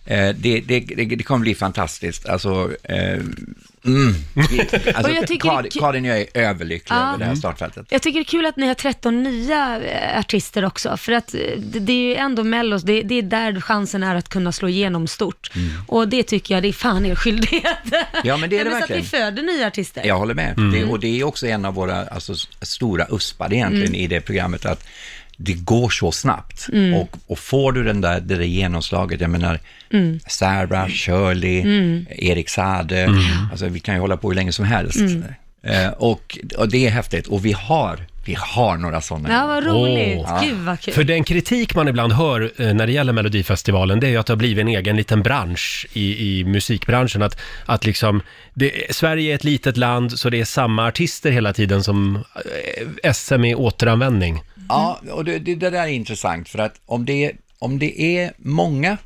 Eh, det, det, det, det kommer bli fantastiskt. Alltså, eh, mm. Vi- alltså Och jag tycker det är Karin, kul- Karin och jag är överlyckliga Ja. Mm. över Mm. det här startfältet. Jag tycker det är kul att ni har 13 nya eh, artister också, för att eh, det, det är ju ändå Mellos, det, det är där chansen är att kunna slå igenom stort. Och det tycker jag, det är fan er skyldighet. Mm. Ja, men det är det Nej, så att verkligen. ni föder nya artister. Jag håller med. Det, och det är också en av våra alltså, s- stora uspar egentligen Mm. i det programmet, att det går så snabbt. Mm. Och, och får du den där, det där genomslaget, jag menar, Mm. Sarah, Shirley, Mm. Erik Saade, alltså vi kan ju hålla på hur länge som helst. Mm. Eh, och, och det är häftigt, och vi har, vi har några sådana. Ja, vad roligt. Gud vad kul. För den kritik man ibland hör eh, när det gäller Melodifestivalen, det är ju att det har blivit en egen liten bransch i, i musikbranschen. Att, att liksom, det, Sverige är ett litet land, så det är samma artister hela tiden som eh, SM i återanvändning. Ja, och det, det, det där är intressant, för att om det, om det är många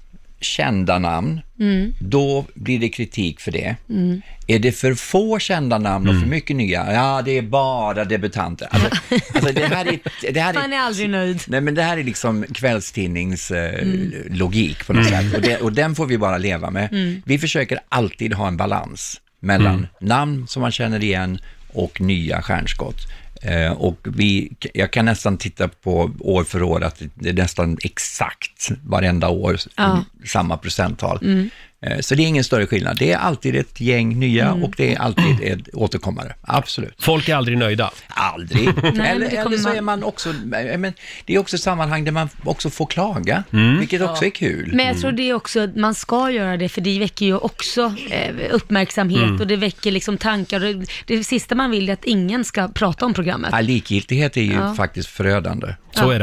kända namn, Mm. då blir det kritik för det. Mm. Är det för få kända namn Mm. och för mycket nya? Ja, det är bara debutanter. Alltså, alltså det här är... Det här är Man är aldrig nöjd. Nej, men det här är liksom kvällstidningslogik eh, Mm. logik på något Mm. sätt. Och, det, och den får vi bara leva med. Mm. Vi försöker alltid ha en balans mellan namn som man känner igen och nya stjärnskott. Eh, Och vi, jag kan nästan titta på år för år att det är nästan exakt varenda år Ja. samma procenttal. Mm. Eh, Så det är ingen större skillnad. Det är alltid ett gäng nya Mm. och det är alltid ett återkommare. Absolut. Folk är aldrig nöjda. Aldrig. men det eller, eller kommer så man- är man också, eh, men det är också ett sammanhang där man också får klaga, Mm. vilket också är kul. Mm. Men jag tror det är också att man ska göra det, för det väcker ju också eh, uppmärksamhet Mm. och det väcker liksom tankar. Och det, det sista man vill är att ingen ska prata om programmet. Ja, likgiltighet är ju Ja. faktiskt förödande. Så är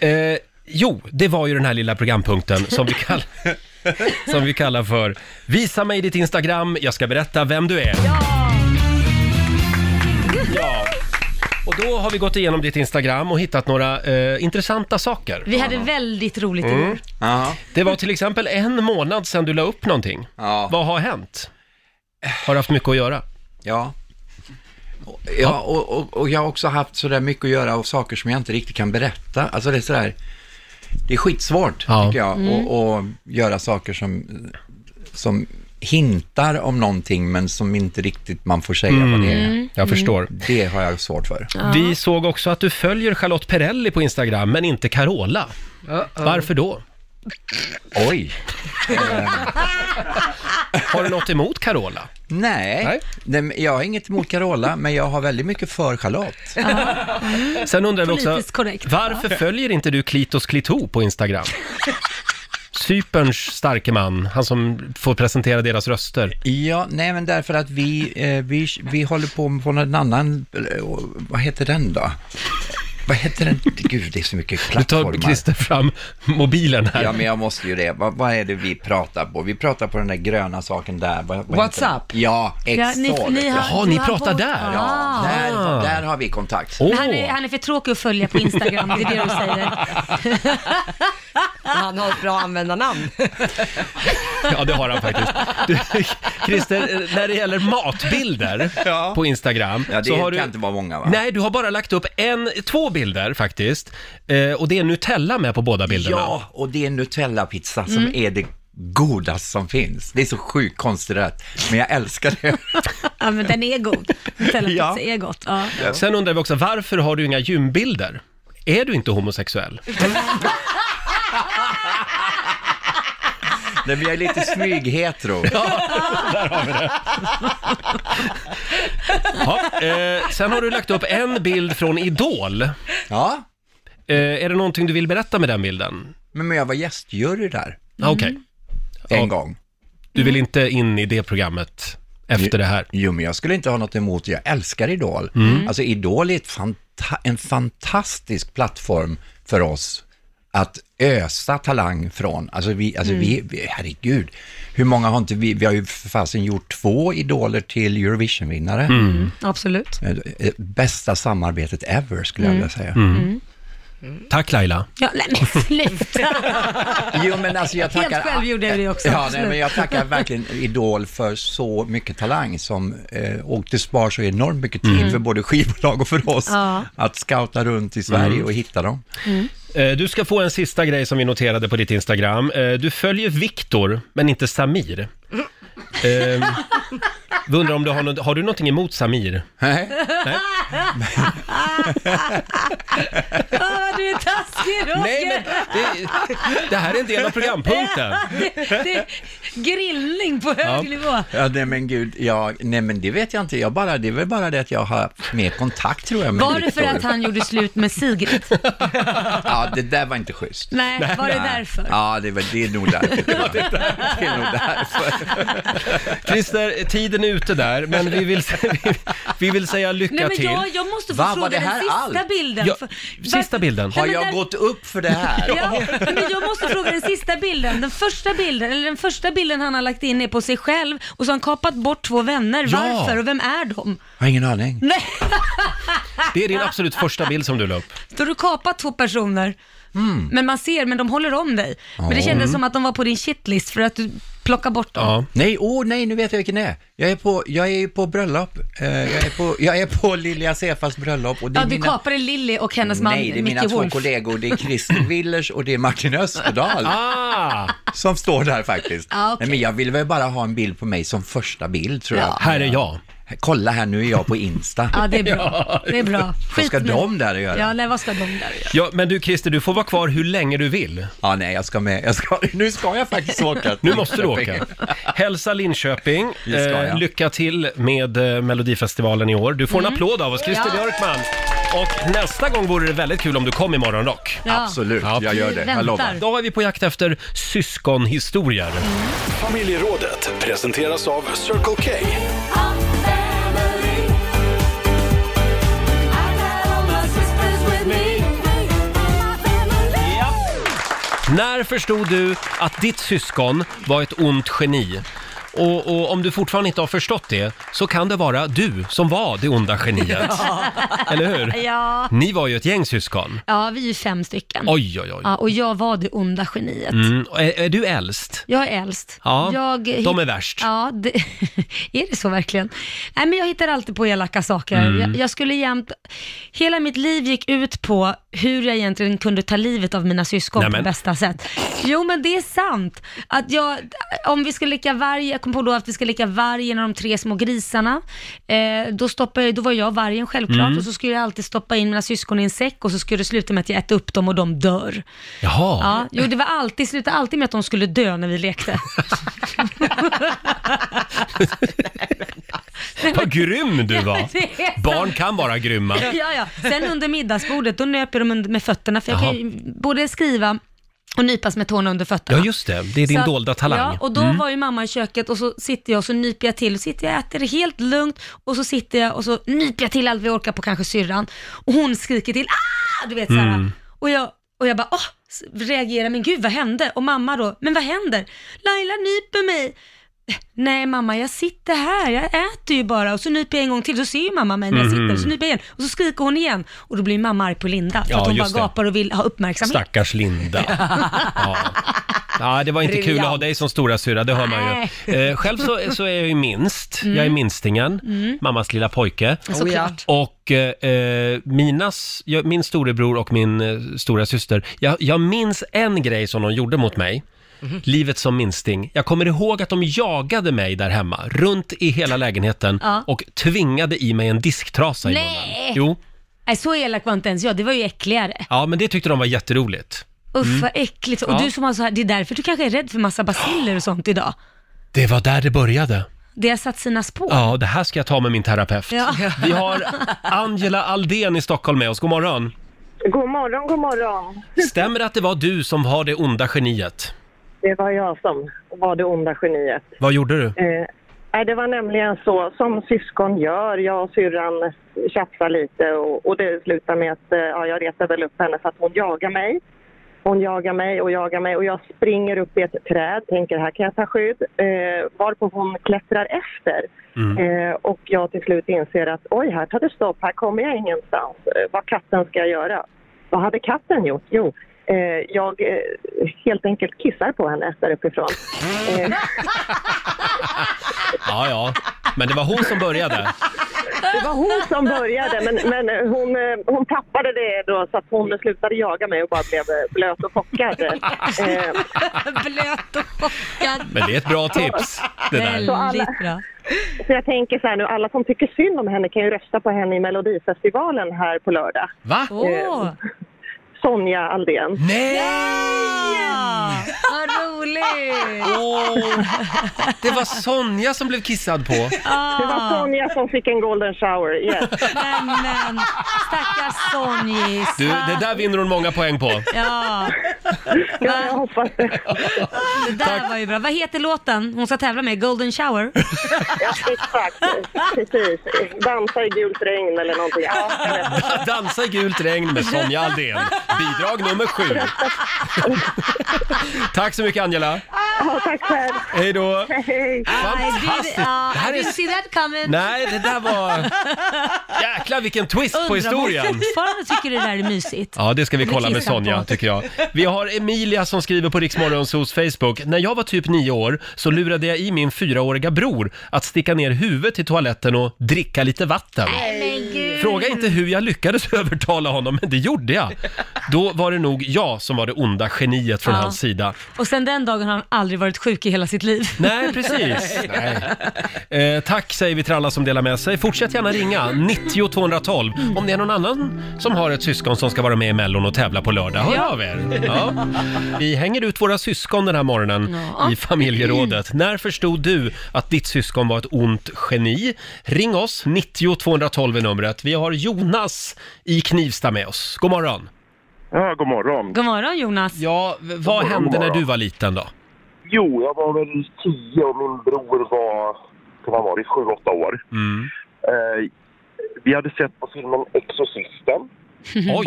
det. Eh, jo, det var ju den här lilla programpunkten som vi, kall- som vi kallar för Visa mig ditt Instagram, jag ska berätta vem du är. Ja. Och då har vi gått igenom ditt Instagram och hittat några eh, intressanta saker. Vi hade väldigt roligt Mm. igår. Det var till exempel en månad sedan du la upp någonting. Vad har hänt? Har du haft mycket att göra? Ja. Ja, och, och, och jag har också haft sådär mycket att göra och saker som jag inte riktigt kan berätta. Alltså det är sådär, det är skitsvårt tycker jag, Mm. att att göra saker som, som hintar om någonting men som inte riktigt man får säga vad det är. Mm, jag förstår. Det har jag svårt för. Vi såg också att du följer Charlotte Perrelli på Instagram, men inte Carola. Varför då? Oj! Har du något emot Carola? Nej, Nej. men jag har inget emot Carola, men jag har väldigt mycket för Charlotte. Sen undrar vi också, Politiskt korrekt. varför Ja. följer inte du Klitos Klito på Instagram? Cyperns starke man, han som får presentera deras röster. Ja, nej men därför att vi, eh, vi, vi håller på på en annan, eh, vad heter den då? Vad heter den? Gud, det är så mycket Nu tar plattformar. Christer fram mobilen här. Ja, men jag måste ju det. Vad, vad är det vi pratar på? Vi pratar på den där gröna saken där. Vad, vad heter WhatsApp? den? Ja, Ja, exakt. ni- ni har- Jaha, ni du har pratar bort- där. Ja, Ah. där, där har vi kontakt. Men Han, är, han är för tråkig att följa på Instagram, det är det du säger. Han har ett bra användarnamn. Ja, det har han faktiskt. Du, Christer, när det gäller matbilder Ja. på Instagram. Ja, det så har kan du, inte vara många, va? Nej, du har bara lagt upp en, två bilder faktiskt. Eh, och det är Nutella med på båda bilderna. Ja, och det är en Nutella-pizza som Mm. är det godaste som finns. Det är så sjukt konstigt rätt, men jag älskar det. Ja, men den är god. Nutellapizza Ja. är gott. Ja. Sen undrar vi också, varför har du inga gymbilder? Är du inte homosexuell? Nej, men jag är lite smyghetero. Ja, där har vi det. Ja, eh, sen har du lagt upp en bild från Idol. Ja. Eh, är det någonting du vill berätta med den bilden? Men, men jag var gästjury där. Ah, Okej. Mm. En Ja. gång. Du vill inte in i det programmet efter det här? Jo, men jag skulle inte ha något emot det. Jag älskar Idol. Mm. Alltså, Idol är ett fanta- en fantastisk plattform för oss att ösa talang från. Alltså, vi, alltså Mm. vi, vi, herregud, hur många har inte vi, vi har ju för fasen gjort två Idoler till Eurovision-vinnare. Mm. Absolut. Eh, eh, Bästa samarbetet ever, skulle jag Mm. vilja säga. Mm. Tack Laila. Ja, nej men sluta! Jo, men alltså jag tackar... Helt själv gjorde jag det också. Ja, nej, absolut. men jag tackar verkligen Idol för så mycket talang som, eh, och det spar så enormt mycket tid Mm. för både skivbolag och för oss Ja. att scouta runt i Sverige Mm. och hitta dem. Eh, Du ska få en sista grej som vi noterade på ditt Instagram. Eh, Du följer Viktor, men inte Samir. Eh, Vi undrar om du har, nå- har du någonting emot Samir? Nej. Åh, du är taskig Roger! Nej, men Det här är en del av programpunkten. det, det är grillning på hög nivå. Ja, nej men gud, ja, nej men det vet jag inte. Jag bara, det är väl bara det att jag har haft mer kontakt tror jag med Var det för Viktor. att han gjorde slut med Sigrid? Ja, det där var inte schysst. Nej, var det Nej. därför? Ja, det, var, det är nog därför. tror jag. Det är nog Christer, tiden är ute där, men vi vill, vi, vi vill säga lycka Nej, men till. jag, jag måste få Va, var fråga det den här sista allt? bilden. Ja, För- sista bilden. Har Nej, men jag där- gått upp för det här? Ja, men jag måste fråga den sista bilden. Den första bilden, eller den första bilden han har lagt in är på sig själv och så har han kapat bort två vänner. Ja. Varför och vem är de? Jag har ingen aning. Nej, Det är din absolut första bild som du la upp. då har du kapat två personer. Men man ser, men de håller om dig. Men det Mm. Ja. kändes Mm. som att de var på din shitlist för att du plockar bort dem. Nej, åh nej, nu vet jag vilken det är. Jag är på, jag är ju på bröllop. Eh, jag, är på, jag är på Lilja Sefas bröllop. Och det är Ja, du mina... kapade Lilly och hennes man Nej, det är mina Micke två Wolf. kollegor. Det är Christer Willers och det är Martin Österdahl. Ah. Som står där faktiskt. Ah, okej. Nej, men jag vill väl bara ha en bild på mig som första bild tror Ja. jag. Här är jag. kolla här nu är jag på Insta. Ja, det är bra. Det är bra. Vad ska med- de där göra? Ja, nej, vad ska de där göra? Ja, men du Christer, du får vara kvar hur länge du vill. Ja, nej, jag ska med. Jag ska, nu ska jag faktiskt åka. Nu måste du åka. Hälsa Linköping. Det ska jag. Eh, lycka till med eh, Melodifestivalen i år. Du får en Mm. applåd av oss, Christer Ja. Björkman. Och nästa gång vore det väldigt kul om du kom i morgonrock. Ja. Absolut, jag gör det. Jag väntar. lovar. Då är vi på jakt efter syskonhistorier. Familjerådet presenteras av Circle K. När förstod du att ditt syskon var ett ont geni? Och, och om du fortfarande inte har förstått det så kan det vara du som var det onda geniet. Eller hur? Ja. Ni var ju ett gäng syskon. ja, vi är ju fem stycken. Oj, oj, oj. Ja, och jag var det onda geniet. Mm. och Är, är du äldst? Jag är äldst. Ja, jag de är värst. Ja, det, är det så verkligen? Nej, men jag hittar alltid på elaka saker. Mm. Jag, jag skulle jämt... Hela mitt liv gick ut på hur jag egentligen kunde ta livet av mina syskon Nämen. på bästa sätt. Jo, men det är sant. Att jag, om vi ska leka varg, jag kom på då att vi ska leka vargen och de tre små grisarna. Eh, då, stoppade jag, då var jag vargen självklart Mm. och så skulle jag alltid stoppa in mina syskon i en säck och så skulle det sluta med att jag äter upp dem och de dör. Jaha. Ja, jo, det var alltid, slutade alltid med att de skulle dö när vi lekte. Vad grym du var! Det är sant. Barn kan vara grymma. Ja, ja. Sen under middagsbordet, då nöp jag dem under- med fötterna, för jag Jaha. kan ju både skriva och nypas med tårna under fötterna. Ja, just det. Det är din Så att- dolda talang. Ja, och då Mm. var ju mamma i köket och så sitter jag och så nyper jag till. Och sitter jag och äter helt lugnt och så sitter jag och så nyper jag till allt vi orkar på kanske syrran. Och hon skriker till, ah! Du vet såhär. Mm. Och jag, och jag bara, åh! s- Reagerar, men gud vad hände? Och mamma då, men vad händer? Laila nyper mig. Nej mamma, jag sitter här, jag äter ju bara. Och så nyper jag en gång till, så ser ju mamma mig när jag Mhm. sitter. Så nyper jag igen och så skriker hon igen. Och då blir mamma arg på Linda, för Ja, att hon bara just det. gapar och vill ha uppmärksamhet. Stackars Linda. Ja. ja, det var inte kul att ha Briljant. dig som stora syra, det hör man ju. Nej. Eh, själv så, så är jag ju minst. Mm. Jag är minstingen, Mm. mammas lilla pojke. Såklart. Och eh, eh, minas, jag, min storebror och min eh, stora syster. Jag, jag minns en grej som de gjorde mot mig. Livet som minsting. Jag kommer ihåg att de jagade mig där hemma, runt i hela lägenheten Ja. och tvingade i mig en disktrasa i Nej. munnen. Jo. Nej, så elak var inte ens jag, det var ju äckligare. Ja, men det tyckte de var jätteroligt. Usch Mm. vad äckligt. Och Ja. du som har så här, det är därför du kanske är rädd för massa basiller och sånt idag. Det var där det började. Det har satt sina spår. Ja, det här ska jag ta med min terapeut. Ja. Vi har Angela Aldén i Stockholm med oss. God morgon. God morgon, god morgon. Stämmer det att det var du som var det onda geniet? Det var jag som var det onda geniet. Vad gjorde du? Eh, nej, det var nämligen så som syskon gör. Jag och syrran tjafsar lite och, och det slutar med att eh, ja, jag retar väl upp henne för att hon jagar mig. Hon jagar mig och jagar mig och jag springer upp i ett träd, tänker här kan jag ta skydd. Eh, varpå hon klättrar efter. Mm. Eh, och jag till slut inser att oj, här tar det stopp, här kommer jag ingenstans. Eh, vad katten ska jag göra? Vad hade katten gjort? Jo, eh, jag eh, helt enkelt kissar på henne där uppifrån. Eh, Ja, ja. Men det var hon som började. Det var hon som började, men, men hon, eh, hon tappade det då så att hon slutade jaga mig och bara blev eh, blöt och chockad. Eh, Blöt och chockad. Men det är ett bra tips, det där. Så alla- bra. Så jag tänker så här nu, alla som tycker synd om henne kan ju rösta på henne i Melodifestivalen här på lördag. Eh, Va? Åh. Sonja Aldén. Nej! Ja, vad roligt! Det var Sonja som blev kissad på. Det var Sonja som fick en golden shower. Yes. Nämen, stackars Sonjis. Du, det där vinner hon många poäng på. Ja. ja, jag hoppas det. Det där var ju bra. Vad heter låten hon ska tävla med? Golden shower? Ja, exakt. Precis. Dansa i gult regn eller någonting. Ja, jag vet. Dansa i gult regn med Sonja Aldén. Bidrag nummer sju. Tack så mycket Angela. Ja, tack själv. Hej då. Hej. Fantastiskt. Det här I didn't är... see that coming. Nej, det där var... Jäklar vilken twist på Undrar om hon historien. fortfarande tycker det där är mysigt. Ja, det ska vi Blir kolla med kissad Sonja, på. tycker jag. Vi har Emilia som skriver på Riksmorgonsos Facebook. När jag var typ nio år så lurade jag i min fyraåriga bror att sticka ner huvudet i toaletten och dricka lite vatten. Nej, men gud. Fråga inte hur jag lyckades övertala honom, men det gjorde jag. Då var det nog jag som var det onda geniet från Ja. hans sida. Och sen den dagen har han aldrig varit sjuk i hela sitt liv. Nej, precis. Eh, tack säger vi till alla som delar med sig. Fortsätt gärna ringa, 90 212. Om det är någon annan som har ett syskon som ska vara med i Mellon och tävla på lördag, hör av er. Ja. Vi hänger ut våra syskon den här morgonen Ja. i familjerådet. När förstod du att ditt syskon var ett ont geni? Ring oss, 90 212 är numret. Vi har Jonas i Knivsta med oss. God morgon. Ja, god morgon. God morgon Jonas. Ja, Vad hände när du var liten då? Jo, jag var väl tio och min bror var, kan han vara, sju, åtta år. Eh, vi hade sett på filmen Exorcisten.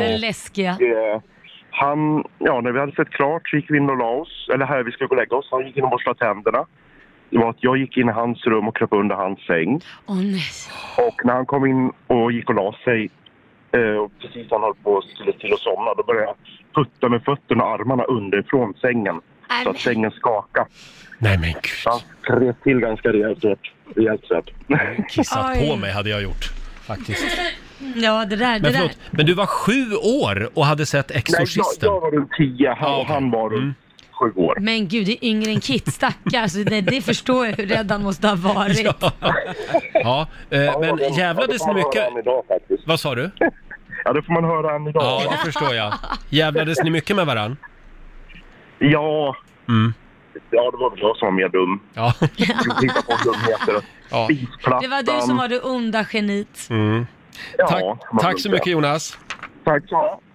Den läskiga. Eh, han, ja, när vi hade sett klart så gick vi in och la oss, eller här, vi skulle gå och lägga oss. Han gick in och borstade tänderna. Det var att jag gick in i hans rum och kröp under hans säng. Åh nej. Och när han kom in och gick och la sig, eh, och precis när han höll på och skulle till och somna, då började jag putta med fötterna och armarna underifrån sängen. Så att sängen skakade. Nej men gud. Han skrev till ganska rejält hårt. Rejält så att- Kissat Oj. på mig hade jag gjort, faktiskt. Ja, det där. Det Men där. förlåt, men du var sju år och hade sett Exorcisten? Mm. Nej, jag, jag var runt tio, han, han var runt sju år. Men gud, det är yngre än Kit, stackars. det, det förstår jag hur rädd han måste ha varit. Ja, eh, men jävlades det ni får man mycket... höra än idag, faktiskt. Vad sa du? Ja, det får man höra än idag. Ja, det förstår jag. Jävlades ni mycket med varann? Ja. Ja, det var väl jag som var mer dum. Ja. Hitta på dumheter. Ja. Det var du som var det onda geniet. Mm. tack, tack så mycket Jonas. Tack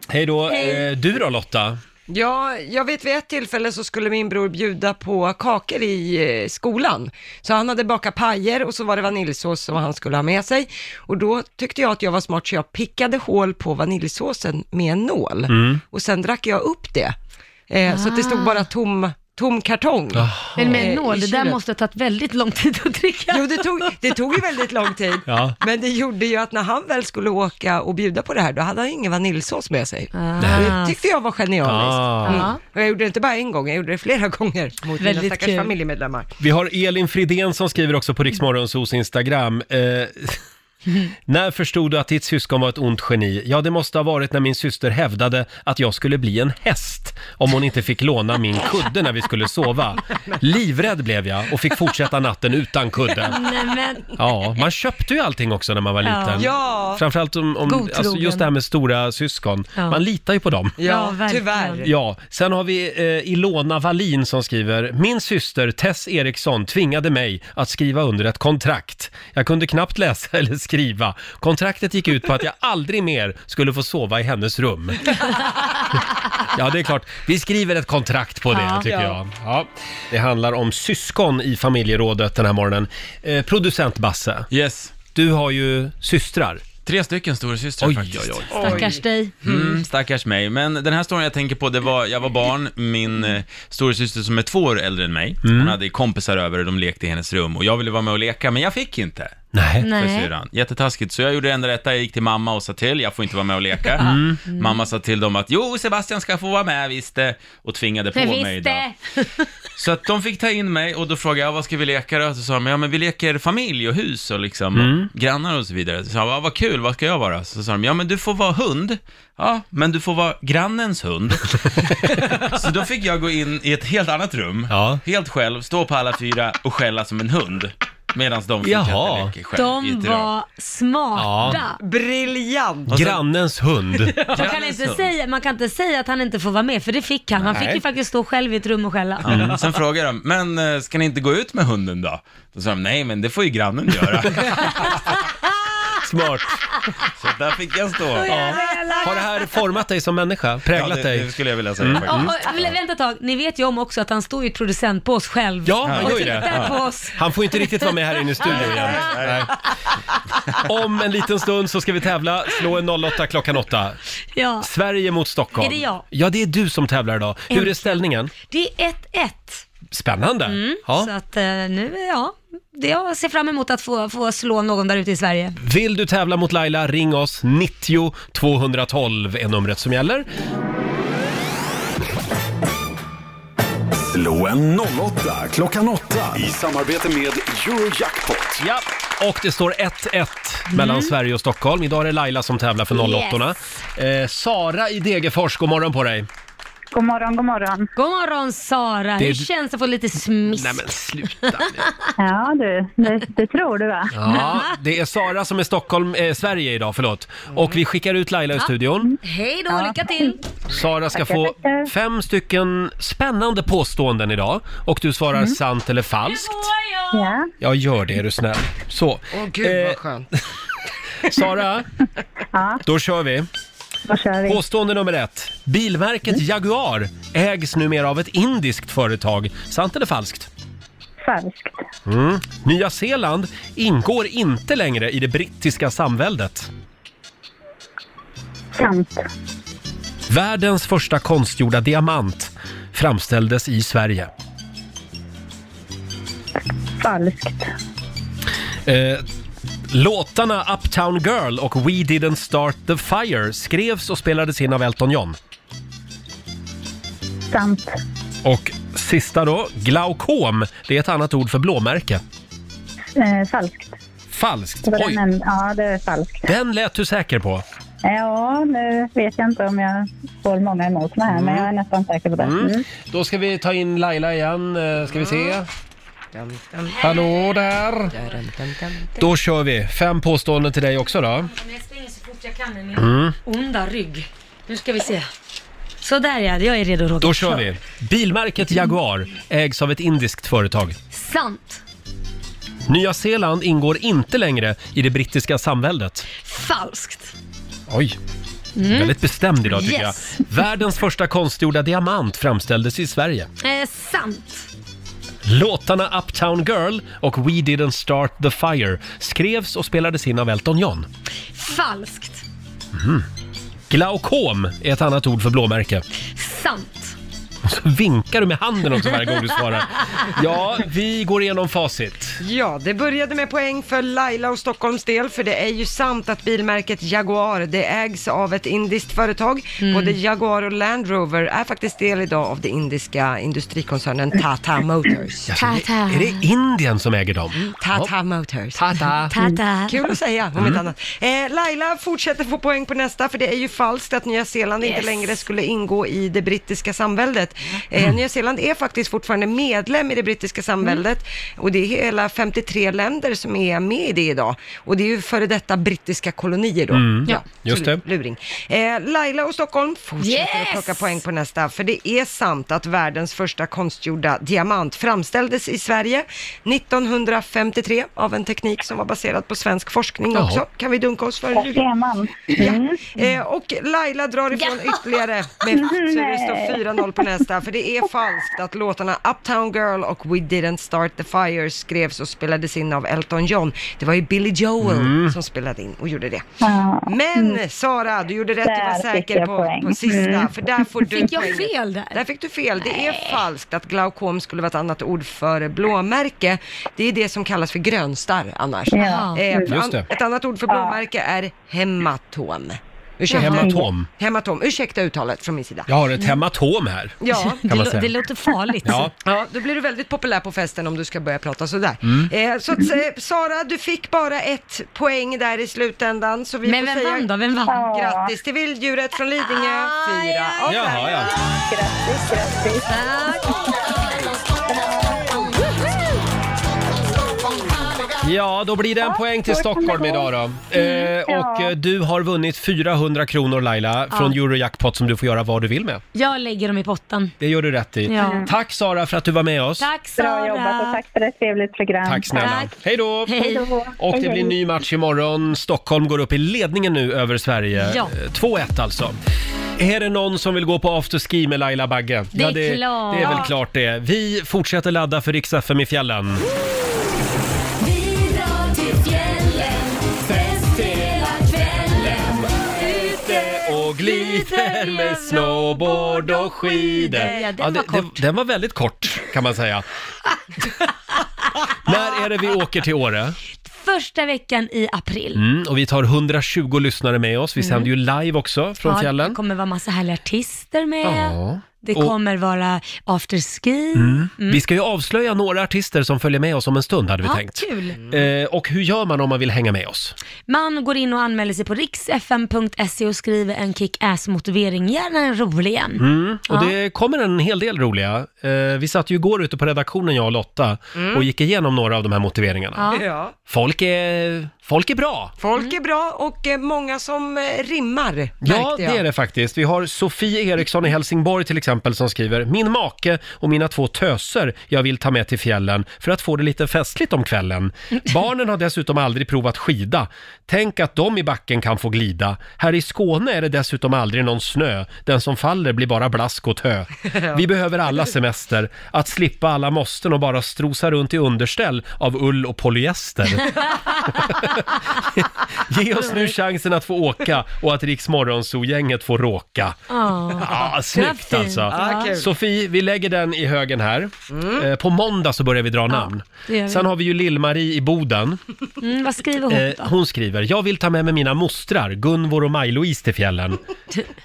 Hej då. Hej. Eh, du då Lotta? Ja, jag vet vid ett tillfälle så skulle min bror bjuda på kakor i eh, skolan. Så han hade bakat pajer och så var det vaniljsås som han skulle ha med sig. Och då tyckte jag att jag var smart så jag pickade hål på vaniljsåsen med en nål. Mm. Och sen drack jag upp det. Eh, Så att det Ah. stod bara tom, tom kartong. Men med en eh, i nål, det där kylen. måste ha tagit väldigt lång tid att dricka. Jo, det tog, det tog ju väldigt lång tid. Ja. Men det gjorde ju att när han väl skulle åka och bjuda på det här, då hade han ingen vaniljsås med sig. Det tyckte jag var genialiskt. Ah. Mm. Ja. Och jag gjorde det inte bara en gång, jag gjorde det flera gånger mot mina Väldigt stackars kul. familjemedlemmar. Vi har Elin Fridén som skriver också på Riksmorgonsos Instagram. Eh, när förstod du att ditt syskon var ett ont geni? Ja, det måste ha varit när min syster hävdade att jag skulle bli en häst om hon inte fick låna min kudde när vi skulle sova. Livrädd blev jag och fick fortsätta natten utan kudde. Nej, men, Ja, man köpte ju allting också när man var Ja. liten. Ja. Framförallt om, om Godtrogen. alltså just det här med stora syskon. Ja. Man litar ju på dem. Ja, Ja, verkligen. tyvärr. Ja, sen har vi eh, Ilona Wallin som skriver. Min syster Tess Eriksson tvingade mig att skriva under ett kontrakt. Jag kunde knappt läsa eller skriva. Kontraktet gick ut på att jag aldrig mer skulle få sova i hennes rum. Ja, det är klart. Vi skriver ett kontrakt på det, Ja. tycker Ja. jag. Ja. Det handlar om syskon i familjerådet den här morgonen. Eh, producent Basse. Yes. Du har ju systrar. Tre stycken storasystrar Oj, faktiskt. oj, oj. stackars dig. Mm, stackars mig. Men den här storyn jag tänker på, det var, jag var barn, min eh, storasyster som är två år äldre än mig, Mm. hon hade kompisar över och de lekte i hennes rum och jag ville vara med och leka, men jag fick inte. Nej. För Nej. syrran. Jättetaskigt, så jag gjorde det enda rätta, jag gick till mamma och sa till, jag får inte vara med och leka. Mm. Mamma sa till dem att, jo Sebastian ska få vara med, visst det, och tvingade på Men mig visst eh, då. det. Så att de fick ta in mig och då frågade jag, vad ska vi leka då? Så sa de, ja men vi leker familj och hus och liksom Mm. grannar och så vidare. Så sa de, ja, vad kul, vad ska jag vara? Så sa de, ja men du får vara hund. Ja, men du får vara grannens hund. så då fick jag gå in i ett helt annat rum, helt själv, stå på alla fyra och skälla som en hund. Medan de fick Jaha. leka själv i De ett rum. var smarta. Briljant. Grannens hund. Man kan, inte säga, man kan inte säga att han inte får vara med, för det fick han. Han Nej. fick ju faktiskt stå själv i ett rum och skälla. Mm. Sen frågade de, men eh, ska ni inte gå ut med hunden då? Då sa de, nej men det får ju grannen göra. Smart. Så där fick jag stå. Ja. Har det här format dig som människa? Präglat Ja, det- dig? Mm. det skulle jag vilja säga Ja, och, vä- vänta ett tag, ni vet ju om också att han står ju producent på oss själv. Ja, han och gör ju tittar det. på oss. Han får inte riktigt vara med här inne i studion igen. Nej. Om en liten stund så ska vi tävla. Slå en 08 klockan 8. Ja. Sverige mot Stockholm. Är det jag? Ja, det är du som tävlar idag. Hur är Äntligen. ställningen? Det är 1-1. Spännande. Mm, Så Ja. att eh, nu, ja, det jag ser fram emot att få, få slå någon där ute i Sverige. Vill du tävla mot Laila, ring oss. 90 212 är numret som gäller. Slå en 08 klockan 8 i samarbete med Eurojackpot. Ja. Och det står 1-1 Mm. mellan Sverige och Stockholm. Idag är det Laila som tävlar för 08 eh, Sara i Degerfors, god morgon på dig. God morgon, god morgon. God morgon Sara, Det- hur känns det att få lite smisk? Nej, men sluta Ja du, det, det tror du va? Ja, det är Sara som är Stockholm, eh, Sverige idag, förlåt. Och vi skickar ut Laila ur studion. Hej då, lycka till! Sara ska Tackar, få fem stycken spännande påståenden idag och du svarar sant eller falskt. Ja. Jag gör det, är du snäll. Så. Åh gud Eh, vad skönt. Sara, då kör vi. Påstående nummer ett. Bilmärket Mm. Jaguar ägs numera av ett indiskt företag. Sant eller falskt? Falskt. Mm. Nya Zeeland ingår inte längre i det brittiska samväldet. Sant. Världens första konstgjorda diamant framställdes i Sverige. Falskt. Eh, låtarna Uptown Girl och We Didn't Start The Fire skrevs och spelades in av Elton John. Sant. Och sista då, glaukom, det är ett annat ord för blåmärke. Eh, falskt. Falskt. Det var Oj, den en, ja, det är falskt. den lät du säker på. Ja, nu vet jag inte om jag får många emot mig här, men jag är nästan säker på det. Mm. Mm. Då ska vi ta in Laila igen, eh, ska vi se. Hallå där! Då kör vi, fem påståenden till dig också då. Jag springer så fort jag kan med min Mm. onda rygg. Nu ska vi se. Sådär ja, jag är redo Roger. Då kör vi. Bilmärket Jaguar ägs av ett indiskt företag. Sant. Nya Zeeland ingår inte längre i det brittiska samväldet. Falskt. Oj. Mm. Väldigt bestämd idag tycker Yes. jag. Världens första konstgjorda diamant framställdes i Sverige. Eh, sant. Låtarna Uptown Girl och We Didn't Start The Fire skrevs och spelades in av Elton John. Falskt. Mhm. Glaukom är ett annat ord för blåmärke. Sant. Och så vinkar du med handen också varje gång du svarar. Ja, vi går igenom facit. Ja, det började med poäng för Laila och Stockholms del, för det är ju sant att bilmärket Jaguar, det ägs av ett indiskt företag. Mm. Både Jaguar och Land Rover är faktiskt del idag av det indiska industrikoncernen Tata Motors. Alltså, är- Är det Indien som äger dem? Mm. Tata Motors. Mm. Tata. Tata. Kul att säga, om Mm. inte annat. Eh, Laila fortsätter få poäng på nästa, för det är ju falskt att Nya Zeeland inte Yes. längre skulle ingå i det brittiska samväldet. Eh, Mm. Nya Zeeland är faktiskt fortfarande medlem i det brittiska samväldet Mm. och det är hela 53 länder som är med i det idag. Och det är ju före detta brittiska kolonier då. Mm. Just så det. Luring. Eh, Laila och Stockholm fortsätter att plocka poäng på nästa, för det är sant att världens första konstgjorda diamant framställdes i Sverige 1953 av en teknik som var baserad på svensk forskning Jaha. också. Kan vi dunka oss för Där ser man. Mm. Ja. Eh, och Laila drar ifrån ytterligare med så det står 4-0 på nästa. För det är falskt att låtarna Uptown Girl och We Didn't Start The Fire skrevs och spelades in av Elton John. Det var ju Billy Joel Mm. som spelade in och gjorde det. Ja. Men Sara, du gjorde rätt att Där vara fick säker jag på, poäng. på sista, Mm. för där får du Fick jag poäng. fel där? Där fick du fel. Det är falskt att glaukom skulle vara ett annat ord för blåmärke. Det är det som kallas för grönstarr annars. Ja. Eh, Mm. Just an- det. Ett annat ord för blåmärke är hematom. Jaha. Hematom. Hematom. Ursäkta uttalet från min sida. Jag har ett Mm. hematom här. Ja, kan man säga. låter farligt. Ja. ja, då blir du väldigt populär på festen om du ska börja prata sådär. Mm. Eh, så att, eh, Sara, du fick bara ett poäng där i slutändan. Så vi Men får vem säga... vann då? Vem vann? Ah, Grattis till vilddjuret från Lidingö, fyra av fem. Jaha, ja. Grattis, grattis. Ja, då blir det en poäng till Stockholm idag då. Eh, och eh, du har vunnit 400 kronor Laila från Ja. Eurojackpot som du får göra vad du vill med. Jag lägger dem i potten. Det gör du rätt i. Ja. Mm. Tack Sara för att du var med oss. Tack Sara. Bra jobbat och tack för ett trevligt program. Tack snälla. Hej då! Hej då. Och det blir ny match imorgon. Stockholm går upp i ledningen nu över Sverige. Ja. Eh, 2-1 alltså. Är det någon som vill gå på afterski med Laila Bagge? Det är det, klart. det är väl klart det. Vi fortsätter ladda för riks FM i fjällen. Och glider med snowboard och skidor. Ja, den var det- det- den var väldigt kort kan man säga. När är det vi åker till Åre? Första veckan i april. Mm, och vi tar 120 lyssnare med oss. Vi Mm. sänder ju live också från Ja, fjällen. Det kommer vara massa härliga artister med. Ja. Det Och- kommer vara afterski. Mm. Vi ska ju avslöja några artister som följer med oss om en stund hade vi Ja, tänkt. kul. Eh, och hur gör man om man vill hänga med oss? Man går in och anmäler sig på riksfm.se E och skriver en kick-ass-motivering, gärna en rolig en. Mm. Och Ja. det kommer en hel del roliga. Eh, vi satt ju igår ute på redaktionen jag och Lotta Mm. och gick igenom några av de här motiveringarna. Ja. Folk, är, folk är bra! Folk är bra och eh, många som eh, rimmar. Ja, det är det faktiskt. Vi har Sofie Eriksson i Helsingborg till exempel som skriver “Min make och mina två töser jag vill ta med till fjällen för att få det lite festligt om kvällen. Barnen har dessutom aldrig provat skida. Tänk att de i backen kan få glida. Här i Skåne är det dessutom aldrig någon snö. Den som faller blir bara blask och tö. Vi behöver alla semester. Att slippa alla måsten och bara strosa runt i underställ av ull och polyester. Ge oss nu chansen att få åka och att Riks gänget får råka. Ja, snyggt alltså. Ja, kul. Sofie, vi lägger den i högen här. Eh, på måndag så börjar vi dra namn. Mm. det gör vi. Sen har vi ju Lill-Marie i Boden. Mm, vad skriver hon Eh, då? hon skriver, jag vill ta med mig mina mostrar Gunvor och Maj-Louise till fjällen.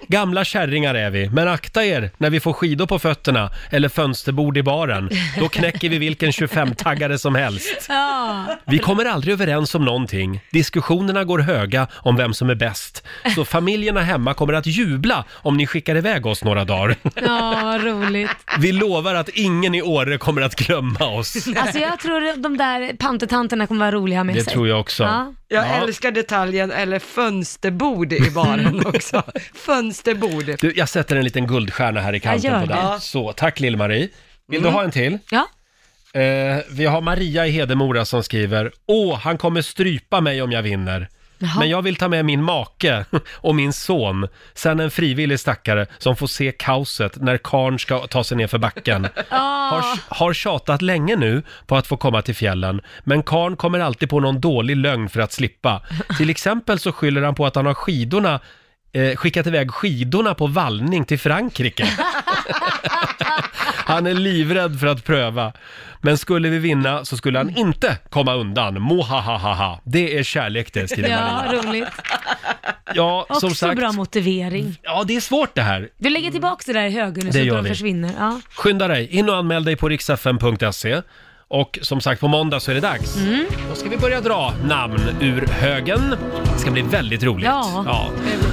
Gamla kärringar är vi, men akta er när vi får skidor på fötterna eller fönsterbord i baren. Då knäcker vi vilken 25-taggare som helst. Ja. Vi kommer aldrig överens om någonting. Diskussionerna går höga om vem som är bäst. Så familjerna hemma kommer att jubla om ni skickar iväg oss några dagar. ja, vad roligt. Vi lovar att ingen i Åre kommer att glömma oss. Alltså jag tror de där pantetanterna kommer vara roliga med Det sig. tror jag också. Ja. Jag Ja. älskar detaljen, eller fönsterbord i baren också. fönsterbord. Du, jag sätter en liten guldstjärna här i kanten Ja, på gör den. det. Så, tack Lill-Marie. Vill du Mm. ha en till? Ja. Eh, vi har Maria i Hedemora som skriver Åh, han kommer strypa mig om jag vinner. Jaha. Men jag vill ta med min make och min son. Sen en frivillig stackare som får se kaoset när karn ska ta sig ner för backen. Har, har tjatat länge nu på att få komma till fjällen, men karn kommer alltid på någon dålig lögn för att slippa. Till exempel så skyller han på att han har skidorna Eh, skickat iväg skidorna på vallning till Frankrike. Han är livrädd för att pröva. Men skulle vi vinna så skulle han inte komma undan. Mohahaha. Det är kärlek det, skriver Ja, Maria. roligt. Ja, Också som sagt. bra motivering. Ja, det är svårt det här. Du lägger tillbaka det där i högen nu Det så att gör de vi. försvinner. Ja. Skynda dig, in och anmäl dig på riksfm.se. Och som sagt, på måndag så är det dags. Mm. Då ska vi börja dra namn ur högen. Det ska bli väldigt roligt. Ja.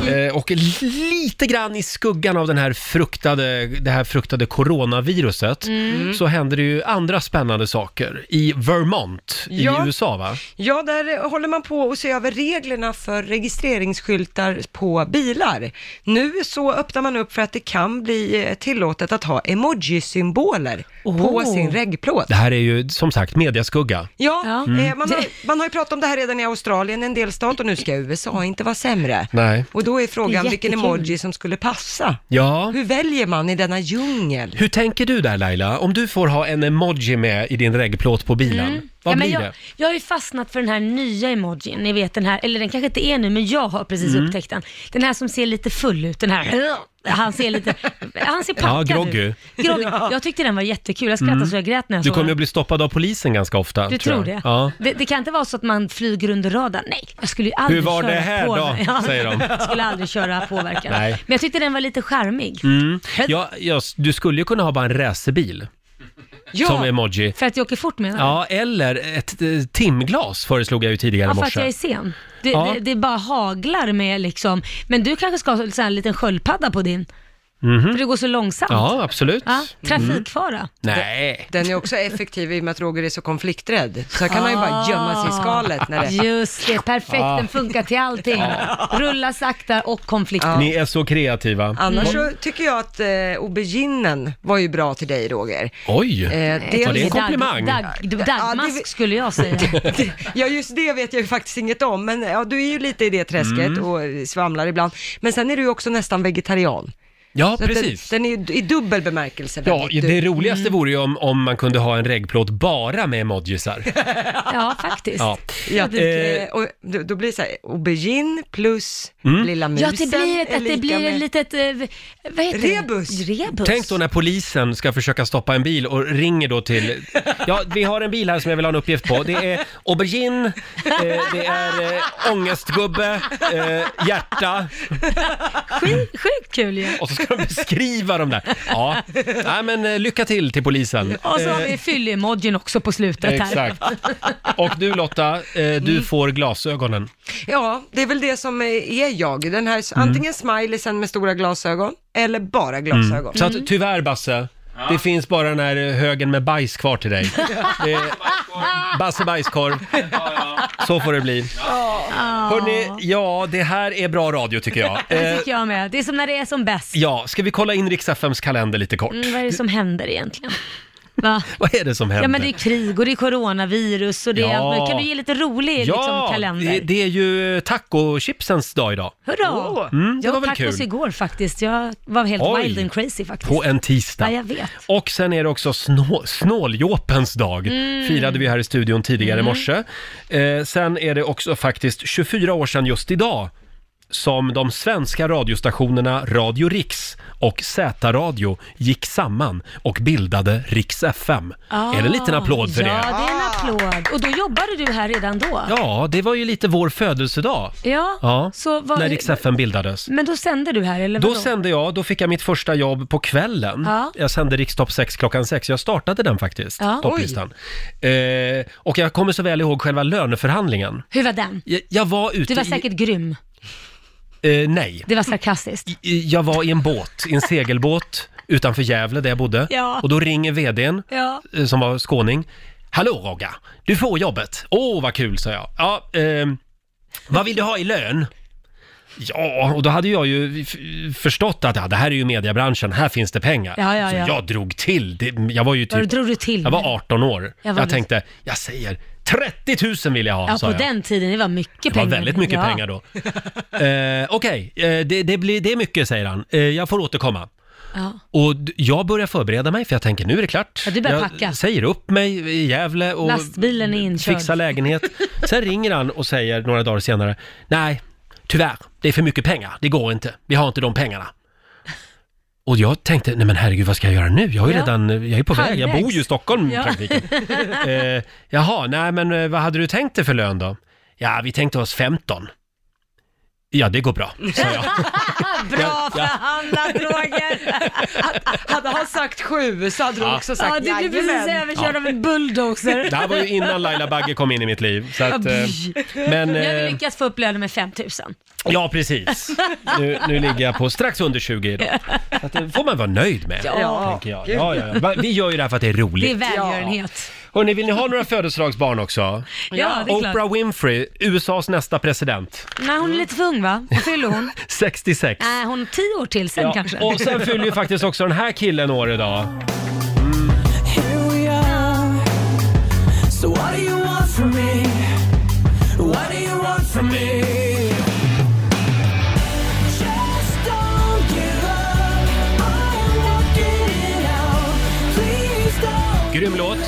Eh, Och lite grann i skuggan av den här fruktade, det här fruktade coronaviruset Mm. så händer det ju andra spännande saker i Vermont Ja. i USA va? Ja, där eh, håller man på att se över reglerna för registreringsskyltar på bilar. Nu så öppnar man upp för att det kan bli eh, tillåtet att ha emoji-symboler på sin reggplåt. Det här är ju som sagt mediaskugga. Ja, Mm. eh, man, har, man har ju pratat om det här redan i Australien, en delstat, och nu ska USA inte vara sämre. Nej. Och då är frågan Det är vilken jättekul. emoji som skulle passa. Ja. Hur väljer man i denna djungel? Hur tänker du där Laila? Om du får ha en emoji med i din reggplåt på bilen, vad Mm. ja, men blir jag, det? Jag har ju fastnat för den här nya emojin, ni vet den här, eller den kanske inte är nu, men jag har precis Mm. upptäckt den. Den här som ser lite full ut, den här, han ser lite, han ser Ja, packad groggy. ut. Groggy. Jag tyckte den var jättekul, jag skrattade Mm. så jag grät när jag Du såg kommer ju den. bli stoppad av polisen ganska ofta. Du tror jag. det? Ja. det? Det kan inte vara så att man flyger under radarn. Nej, jag skulle ju aldrig Hur var köra det här på- då? Ja, Säger de. Jag skulle aldrig köra påverkan. Nej. Men jag tyckte den var lite charmig. Mm. Ja, ja, du skulle ju kunna ha bara en racerbil Ja, som emoji. För att jag åker fort menar du? Ja, eller ett eh, timglas föreslog jag ju tidigare Ja, i för att jag är morse. sen. Det, Ja. det, det bara haglar med liksom. Men du kanske ska ha så här en liten sköldpadda på din? Mhm. För det går så långsamt. Ja, absolut. Ja, Mm. trafikfara. Nej. Den är också effektiv i och med att Roger är så konflikträdd. Så här kan han ju bara gömma sig i skalet när det... Ah. Just det, perfekt. Ah. Den funkar till allting. Rulla sakta och konflikt. Ni är Mm. så kreativa. Annars Kom- så tycker jag att eh, auberginen var ju bra till dig Roger. Oj! Eh, dels- var det en komplimang? Dagmask skulle jag säga. ja, just det vet jag ju faktiskt inget om, men ja, du är ju lite i det träsket Mm. och svamlar ibland. Men sen är du ju också nästan vegetarian. Ja, Så att precis. Den, den är ju i dubbel bemärkelse. Ja, väldigt det du- roligaste vore ju om, om man kunde ha en reggplåt bara med emojisar. Ja, faktiskt. Ja. Ja, Eh. och då, då blir det så här, aubergine plus Mm. lilla musen Ja, det blir ett, är att det lika blir ett med- litet... eh, Vad heter Rebus. Det? Rebus. Tänk då när polisen ska försöka stoppa en bil och ringer då till... Ja, vi har en bil här som jag vill ha en uppgift på. Det är aubergine, eh, det är eh, ångestgubbe, eh, hjärta. Sjukt kul ju. Och så ska beskriva de där. Ja, Nej, men eh, lycka till till polisen. Och så har Eh, vi fyllemodgen också på slutet här. Mm. Exakt. Och du Lotta, eh, du får glasögonen. Ja, det är väl det som är jag. Den här, Mm. antingen smileysen med stora glasögon eller bara glasögon. Mm. Så att, tyvärr Basse, det finns bara den här eh, högen med bajs kvar till dig. Mm. Det är Basse bajskorv. Så får det bli. Ah. Ah. Hörni, ja det här är bra radio tycker jag. Det Eh, tycker jag med. Det är som när det är som bäst. ja, ska vi kolla in Rix FMs kalender lite kort? Mm, vad är det som händer egentligen? Va? Vad är det som händer? Ja men det är krig och det är coronavirus och det är Ja. allt möjligt. Kan du ge lite rolig liksom, kalender? det, det är ju tacochipsens dag idag. Hurra! Mm, det jag var åt väl tacos kul. igår faktiskt. Jag var helt Oj. wild and crazy faktiskt. På en tisdag. Ja, jag vet. Och sen är det också snå, snåljåpens dag. Mm. Firade vi här i studion tidigare i Mm. morse. Eh, sen är det också faktiskt 24 år sedan just idag som de svenska radiostationerna Radio Rix och Z-radio gick samman och bildade Rix FM. Är det en liten applåd för Ah, ja, det? Ja, det är en applåd. Och då jobbade du här redan då? Ja, det var ju lite vår födelsedag. Ja, Ja, Så vad- när Rix FM bildades. men då sände du här eller Då vadå? sände jag, då fick jag mitt första jobb på kvällen. Ja. Jag sände Rikstopp 6 klockan 6. Jag startade den faktiskt, Ja. topplistan. Eh, och jag kommer så väl ihåg själva löneförhandlingen. Hur var den? Jag, jag var ute Du var i- säkert grym. Eh, nej. Det var sarkastiskt. I- Jag var i en båt, i en segelbåt utanför Gävle där jag bodde. Ja. Och då ringer vdn, Ja. eh, som var skåning. Hallå Rogga, du får jobbet. Åh vad kul, sa jag. Ja, ehm, vad vill du ha i lön? Ja, och då hade jag ju f- förstått att ja, det här är ju mediebranschen, här finns det pengar. Ja, ja, Så ja. jag drog till. Det, jag var ju Vad typ... drog du till Jag med? var 18 år. Jag Jag, var lite- tänkte, jag säger 30 000 vill jag ha, Ja, sa på jag. den tiden, det var mycket Det var pengar. väldigt mycket ja. pengar då. Eh, Okej, eh, det, det, blir- det är mycket säger han. Eh, jag får återkomma. Ja. Och d- jag börjar förbereda mig för jag tänker nu är det klart. Ja, du börjar jag packa. säger upp mig i Gävle och Lastbilen är inkörd. fixar lägenhet. Sen ringer han och säger några dagar senare, nej, tyvärr, det är för mycket pengar, det går inte, vi har inte de pengarna. Och jag tänkte, nej men herregud vad ska jag göra nu? Jag är ju Ja. redan, jag är på väg, jag Halvvägs. bor ju i Stockholm i Ja. praktiken. Eh, jaha, nej men eh, vad hade du tänkt dig för lön då? Ja, vi tänkte oss 15. Ja, det går bra, sa jag. Bra förhandlat Roger! Hade han sagt sju så hade du Ja. också sagt Ja, du blev "Jajamän." precis överkörd Ja. av en bulldozer. Det här var ju innan Laila Bagge kom in i mitt liv. Så att, eh, men, Nu har vi eh, lyckats få upp lönen med 5000. ja, precis. Nu, nu ligger jag på strax under 20 idag. Så att, det får man vara nöjd med, Ja. tänker jag. Ja, ja, ja. Va- Vi gör ju det här för att det är Det är roligt. välgörenhet. Hörrni, vill ni ha några födelsedagsbarn också? Ja, det är klart. Oprah Winfrey, USAs nästa president. Nej, hon är lite för ung va? Vad fyller hon? 66. Nej, hon är tio år till sen Ja, kanske. Och sen fyller ju faktiskt också den här killen år idag. Here we are. So what do you want from me? What do you want from me? Just don't give up. I am working it out. Please don't. Grym låt.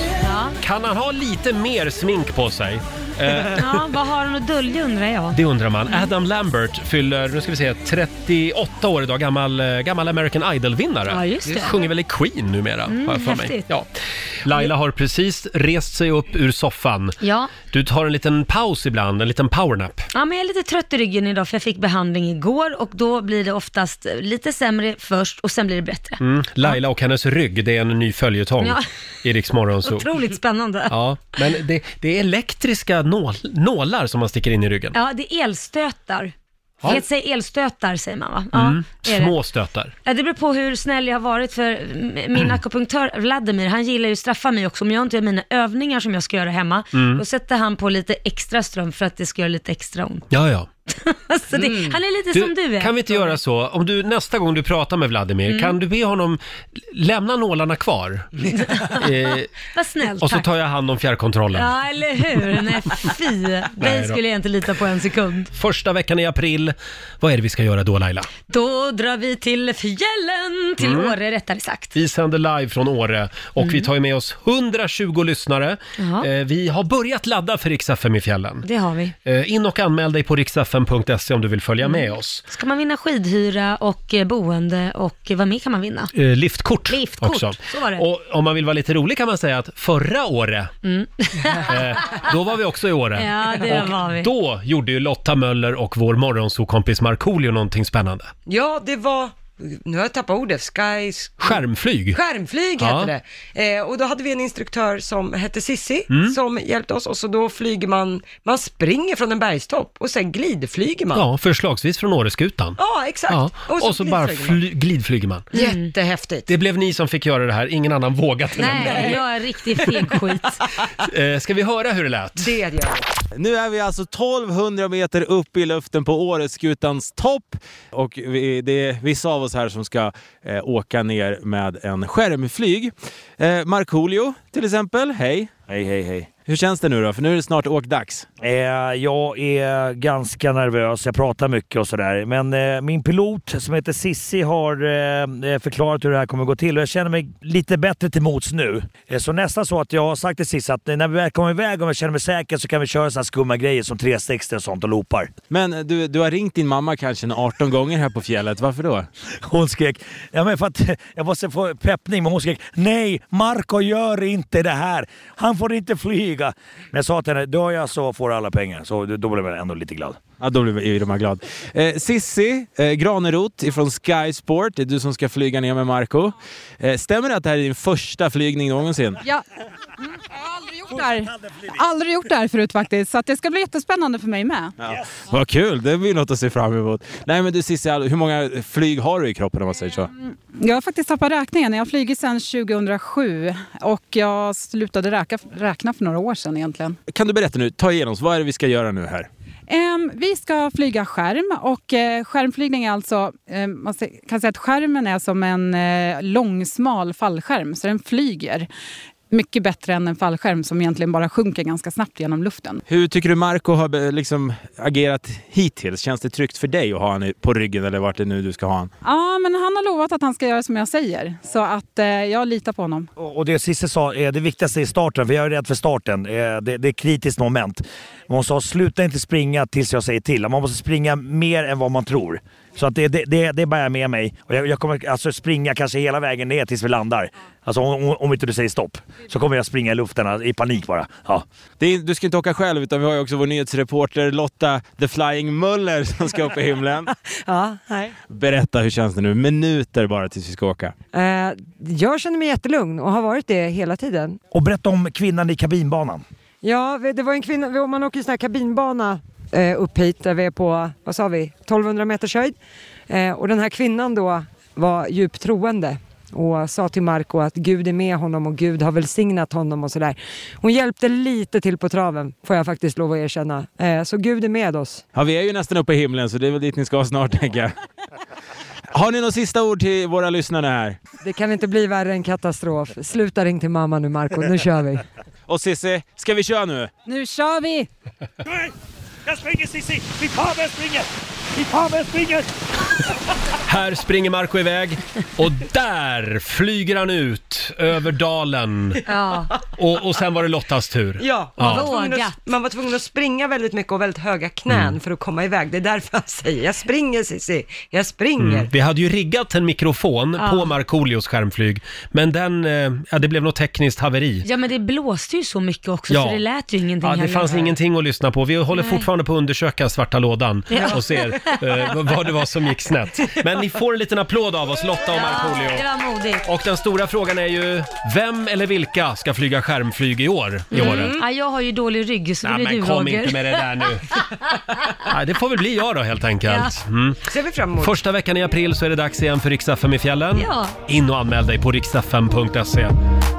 Kan han ha lite mer smink på sig? Eh, Ja, vad har hon att dölja undrar jag. Det undrar man. Adam Lambert fyller, nu ska vi se, 38 år idag, gammal, eh, gammal American Idol-vinnare. Ja, just det. Sjunger väl i Queen numera, Mm, har jag för mig. häftigt. Ja. Laila har precis rest sig upp ur soffan. Ja. Du tar en liten paus ibland, en liten powernap. Ja, men jag är lite trött i ryggen idag för jag fick behandling igår och då blir det oftast lite sämre först och sen blir det bättre. Mm. Laila och hennes rygg, det är en ny följetong Ja. i Rix Morgonzoo. Otroligt spännande. Ja. Ja, men det, det är elektriska nål, nålar som man sticker in i ryggen. det är elstötar. Ja. Det säger elstötar säger man va? Ja, Mm. är det. Små stötar. Ja, det beror på hur snäll jag har varit för m- Mm. min akupunktör Vladimir, han gillar ju att straffa mig också. Om jag inte gör mina övningar som jag ska göra hemma, Mm. då sätter han på lite extra ström för att det ska göra lite extra ont. Ja, ja. Alltså det, Han är lite Mm. Du, som du är. Kan vi inte göra så, om du nästa gång du pratar med Vladimir, Mm. kan du be honom lämna nålarna kvar? eh, Vad snällt, och så tack. tar jag hand om fjärrkontrollen. Ja, eller hur? Nej, fy. Nej Dig då. skulle jag inte lita på en sekund. Första veckan i april, vad är det vi ska göra då Laila? Då drar vi till fjällen, till Mm. Åre rättare sagt. Vi sänder live från Åre och Mm. vi tar ju med oss 120 lyssnare. Ja. Eh, vi har börjat ladda för Rix FM i fjällen. Det har vi. Eh, in och anmäl dig på riksfm.se om du vill följa Mm. med oss. Ska man vinna skidhyra och eh, boende och eh, vad mer kan man vinna? Eh, liftkort, Liftkort, också. så var det. Och om man vill vara lite rolig kan man säga att förra året, Mm. eh, då var vi också i Åre. Ja, det och var vi. då gjorde ju Lotta Möller och vår morgonsokompis Markoolio någonting spännande. Ja, det var nu har jag tappat ordet, sky... Skärmflyg. Skärmflyg Ja. heter det. Eh, och då hade vi en instruktör som hette Sissi Mm. som hjälpte oss och så då flyger man, man springer från en bergstopp och sen glidflyger man. Ja, förslagsvis från Åreskutan. Ja, exakt. Ja, Och så Och så bara glidflyger man. fly- Mm. glidflyger man. Jättehäftigt. Det blev ni som fick göra det här, ingen annan vågat. Nej, jag är riktigt fegskit. Eh, Ska vi höra hur det lät? Det gör Nu är vi alltså 1200 meter upp i luften på Åreskutans topp och vi, det är vissa av oss här som ska eh, åka ner med en skärmflyg. Eh, Markoolio till exempel, hej! Hej, hej, hej. Hur känns det nu då? För nu är det snart åkdags. Eh, jag är ganska nervös, jag pratar mycket och sådär. Men eh, min pilot som heter Sissi har eh, förklarat hur det här kommer gå till och jag känner mig lite bättre till mots nu. Eh, så nästan så att jag har sagt till Sissi att när vi väl kommer iväg om jag känner mig säker så kan vi köra så här skumma grejer som 360 och sånt och loopar. Men eh, du, du har ringt din mamma kanske en 18 gånger här på fjället, varför då? Hon skrek, ja men för att jag måste få peppning, men hon skrek nej, Marco gör inte det här. Han får inte flyga. Men jag sa till henne, dör jag så får du alla pengar. Så då blev jag ändå lite glad. Ja, då blir ju de här glad. Eh, Sissi eh, Granerot ifrån Sky Sport, det är du som ska flyga ner med Marco. Eh, stämmer det att det här är din första flygning någonsin? Jag mm, jag har aldrig gjort det här. Aldrig gjort det här förut faktiskt, så att det ska bli jättespännande för mig med. Vad kul, det blir något att se fram emot. Nej men du Cissi, hur många flyg har du i kroppen om man säger så? Jag har faktiskt tappat räkningen. Jag har flugit sedan 2007 och jag slutade räka, räkna för några år sedan egentligen. Kan du berätta nu, ta igenom oss, vad är det vi ska göra nu här? Ehm, vi ska flyga skärm och eh, skärmflygning är alltså, eh, man se- kan säga att skärmen är som en eh, långsmal fallskärm så den flyger. Mycket bättre än en fallskärm som egentligen bara sjunker ganska snabbt genom luften. Hur tycker du Marco har be- liksom agerat hittills? Känns det tryggt för dig att ha han i- på ryggen eller vart det nu du ska ha han? Ja, men han har lovat att han ska göra som jag säger så att eh, jag litar på honom. Och det Cissi sa är det viktigaste i starten, för jag är rädd för starten. Eh, Det, det är ett kritiskt moment. Hon sa sluta inte springa tills jag säger till. Man måste springa mer än vad man tror. Så att det, det, det, det bär jag med mig. Och jag, jag kommer alltså springa kanske hela vägen ner tills vi landar. Alltså om, om- om inte du säger stopp så kommer jag springa i luften alltså, i panik bara. Ja. Det är, du ska inte åka själv utan vi har ju också vår nyhetsreporter Lotta The Flying Muller som ska upp i himlen. Ja, nej. Berätta, hur känns det nu? Minuter bara tills vi ska åka. Eh, jag känner mig jättelugn och har varit det hela tiden. Och berätta om kvinnan i kabinbanan. Ja, det var en kvinna, om man åker sån här kabinbana eh, upp hit där vi är på, vad sa vi, 1200 meters höjd. Eh, och den här kvinnan då var djupt troende och sa till Marco att Gud är med honom och Gud har välsignat honom och sådär. Hon hjälpte lite till på traven, får jag faktiskt lov att erkänna. Eh, så Gud är med oss. Ja, vi är ju nästan uppe i himlen så det är väl dit ni ska snart tänker jag. Har ni några sista ord till våra lyssnare här? Det kan inte bli värre än katastrof. Sluta ring till mamma nu Marco, nu kör vi. Och Cissi, ska vi köra nu? Nu kör vi! Nej! Jag springer Cissi! Fy fan vad jag springer! Fy fan vad jag springer! Här springer Marco iväg och där flyger han ut över dalen. Ja. Och, och sen var det Lottas tur. Ja, man, var tvungen att, man var tvungen att springa väldigt mycket och väldigt höga knän Mm. för att komma iväg. Det är därför jag säger, jag springer Cissi, jag springer. Mm. Vi hade ju riggat en mikrofon Ja. på Markoolios skärmflyg, men den, eh, ja det blev något tekniskt haveri. Ja, men det blåste ju så mycket också, Ja. så det lät ju ingenting Ja, det heller. fanns ingenting att lyssna på. Vi håller Nej. fortfarande på att undersöka svarta lådan Ja. och ser eh, vad- vad det var som gick snett. Men ni får en liten applåd av oss, Lotta och Markoolio. Det var modigt. Och den stora frågan är ju, vem eller vilka ska flyga skärmflyg i år? I år? Ja, jag har ju dålig rygg, så Mm. det Nej, blir men du kom Roger. inte med det där nu. Nej, det får väl bli jag då helt enkelt. Mm. Ser vi fram emot. Första veckan i april så är det dags igen för Riks-FM i fjällen. Ja. In och anmäl dig på riksfm.se.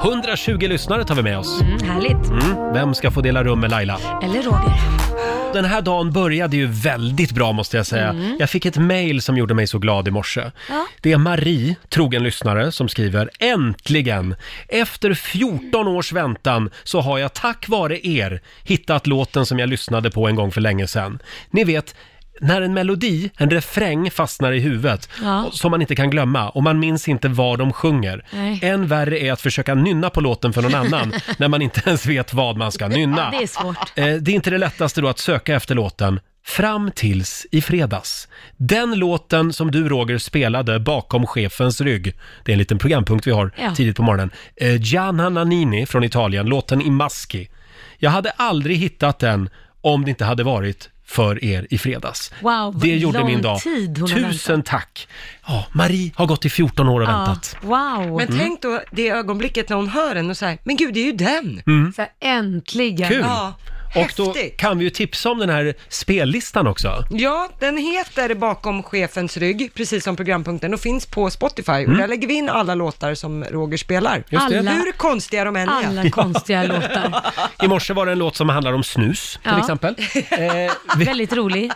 120 lyssnare tar vi med oss. Mm, härligt. Mm. Vem ska få dela rum med Laila? Eller Roger. Den här dagen började ju väldigt bra måste jag säga. Mm. Jag fick ett mejl som gjorde mig så glad i morse. Ja. Det är Marie, trogen lyssnare, som skriver Äntligen! Efter 14 års väntan så har jag tack vare er hittat låten som jag lyssnade på en gång för länge sedan. Ni vet, när en melodi, en refräng fastnar i huvudet Ja. och- som man inte kan glömma och man minns inte vad de sjunger. Nej. Än värre är att försöka nynna på låten för någon annan när man inte ens vet vad man ska nynna. Ja, det är svårt. Eh, Det är inte det lättaste då att söka efter låten fram tills i fredags. Den låten som du Roger spelade bakom chefens rygg, det är en liten programpunkt vi har Ja. tidigt på morgonen. Eh, Gianna Nannini från Italien, låten I maski. Jag hade aldrig hittat den om det inte hade varit för er i fredags. Wow, det gjorde lång min dag. tid hon har Tusen tack! Ja, Marie har gått i 14 år och Ja. väntat. Wow. Men Mm. tänk då det ögonblicket när hon hör den och säger, men gud det är ju den. Mm. Så här, äntligen. Kul! Ja, och då häftigt. kan vi ju tipsa om den här spellistan också. Ja, den heter Bakom chefens rygg, precis som programpunkten, och finns på Spotify. Och där lägger vi in alla låtar som Roger spelar. Mm. Just det. Alla- Hur konstiga de än är. alla konstiga låtar. I morse var det en låt som handlar om snus, till Ja. exempel. Eh, Väldigt rolig.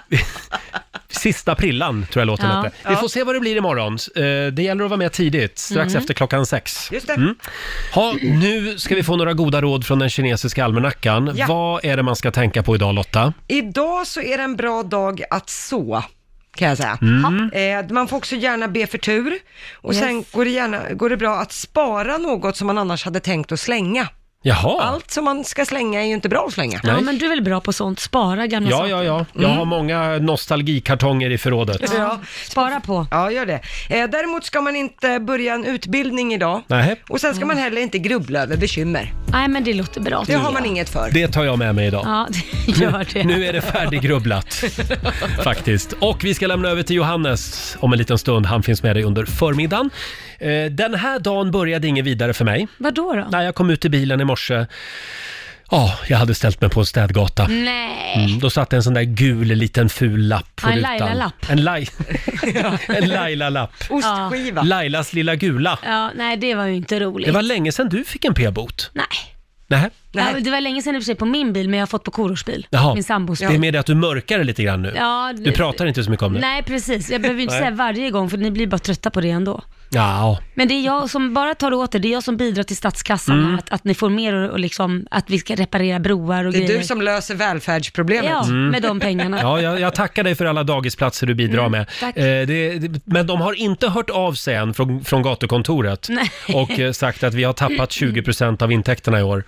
Sista prillan, tror jag låten Ja. hette. Vi Ja. får se vad det blir imorgon. Eh, Det gäller att vara med tidigt, strax Mm. efter klockan sex. Mm. Just det. Ha, nu ska vi få några goda råd från den kinesiska almanackan. Ja. Vad är det man ska tänka på idag, Lotta? Idag så är det en bra dag att så. Kan jag säga. Mm. Eh, man får också gärna be för tur och Yes. sen går det, gärna, går det bra att spara något som man annars hade tänkt att slänga. Jaha. Allt som man ska slänga är ju inte bra att slänga. Mm. Ja, Nej. men du är väl bra på sånt? Mm. Spara gamla Ja, saker. ja, ja. Jag har många nostalgikartonger i förrådet. Ja. Spara på. Ja, gör det. Eh, däremot ska man inte börja en utbildning idag. Nej. Och sen ska man Mm. heller inte grubbla över bekymmer. Nej, men det låter bra. Det har man inget för. Det Mm. tar jag med mig idag. Ja, det gör det. Nu är det färdiggrubblat, faktiskt. Och vi ska lämna över till Johannes om en liten stund. Han finns med dig under förmiddagen. Eh, Den här dagen började ingen vidare för mig. Vadå då? När jag kom ut i bilen i morse, ja, jag hade ställt mig på en städgata. Nej. Mm, då satt det en sån där gul liten ful lapp på Ja, en rutan. Laila-lapp. En, laj... en Laila-lapp. Ostskiva. Lailas lilla gula. Ja, nej, det var ju inte roligt. Det var länge sedan du fick en p-bot. Nej. Nej. Ja, det var länge sedan i och för sig på min bil, men jag har fått på Korosh bil. Jaha. Min sambos bil. Det är med det att du mörkar det lite grann nu. Ja, du pratar inte så mycket om det. Nej, precis. Jag behöver ju inte Nej. säga varje gång, för ni blir bara trötta på det ändå. Ja. Men det är jag som bara tar åt er, det är jag som bidrar till statskassan, Mm. här, att, att ni får mer och, och liksom, att vi ska reparera broar och Det är grejer. du som löser välfärdsproblemet. Ja, med de pengarna. Mm. Ja, jag, jag tackar dig för alla dagisplatser du bidrar Mm, med. tack. Eh, det, det, men de har inte hört av sig än från, från gatukontoret Nej. och eh, sagt att vi har tappat 20% av intäkterna i år.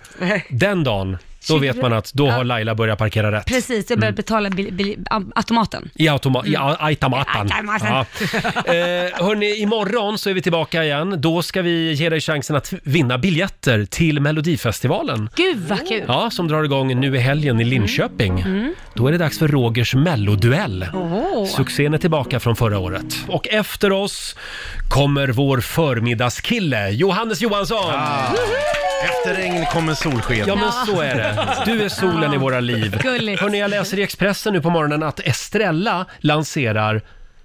Den dagen, då 20%. vet man att då har Laila börjat parkera rätt. Precis, jag Mm. börjar betala bil, bil, am- automaten. I, automa- i a- automaten. Mm. Automaten. Ja. Eh, hörni, imorgon så är vi tillbaka igen. Då ska vi ge dig chansen att vinna biljetter till Melodifestivalen. Gud vad kul! Ja, som drar igång nu i helgen i Linköping. Mm. Då är det dags för Rogers melloduell. Åh. Succén är tillbaka från förra året. Och efter oss kommer vår förmiddagskille, Johannes Johansson! Ah. Efter regn kommer solsken. Ja, men så är det. Du är solen i våra liv. Gulligt. Hörrni, jag läser i Expressen nu på morgonen att Estrella lanserar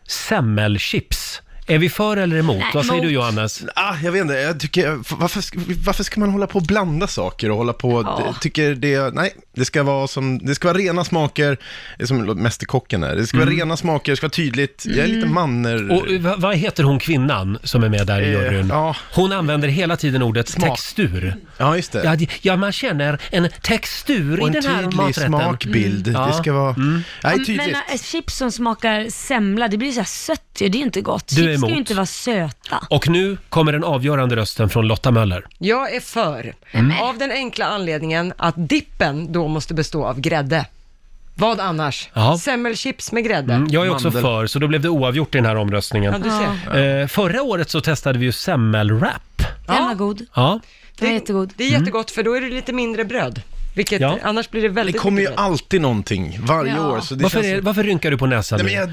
semmelchips. Är vi för eller emot? Nej, Vad säger emot. du Johannes? Ah, jag vet inte, jag tycker, varför, ska- varför ska man hålla på och blanda saker och hålla på, Ja. tycker det, nej, det ska vara som, det ska vara rena smaker, det är som Mästerkocken är, det ska vara Mm. rena smaker, det ska vara tydligt, jag är lite Mm. manner... Och eh, vad vad heter hon kvinnan som är med där i Eh, juryn? ja. Hon använder hela tiden ordet textur. Ja, just det. Ja, det- ja, man känner en textur Och i en den här tydlig maträtten. smakbild. Mm. Det Ja. ska vara... Nej, Men tydligt. äh, chips som smakar semla, det blir så här sött ju, det är ju inte gott. Du är Chips ska ju emot. inte vara söta. Och nu kommer den avgörande rösten från Lotta Möller. Jag är för. Av den enkla anledningen att dippen då måste bestå av grädde. Vad annars? Ja. Semmelchips med grädde. Mm, jag är också för, så då blev det oavgjort i den här omröstningen. Ja, du ser. Eh, förra året så testade vi ju semmelwrap. Den var god. Ja. Det är jättegod. Det är jättegott för då är det lite mindre bröd. Vilket, Ja. annars blir det Det väldigt kommer ju mycket bröd. alltid någonting, varje Ja. år. Så det Varför, känns... är, varför rynkar du på näsan Nej, nu? men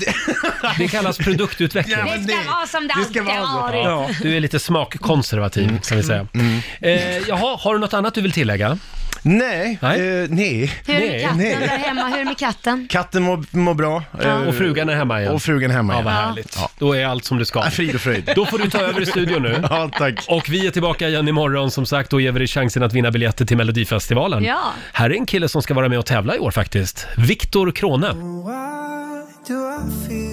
jag, Det kallas produktutveckling. Ja, men det- vara som det alltid har Ja, du är lite smakkonservativ, Mm. kan vi säga. Eh, jaha, har du något annat du vill tillägga? Nej, nej. nej. Hur är det med katten nej. där hemma? Hur är det med katten? Katten mår mår bra. Ja. Eh, Och frugan är hemma igen. Och frugan är hemma Ja, igen. vad härligt. Då är allt som det ska. Frid och fröjd. Då får du ta över i studion nu. Ja, tack. Och vi är tillbaka igen imorgon som sagt. Då ger vi dig chansen att vinna biljetter till Melodifestivalen. Ja. Här är en kille som ska vara med och tävla i år faktiskt. Viktor Krone. Why do I feel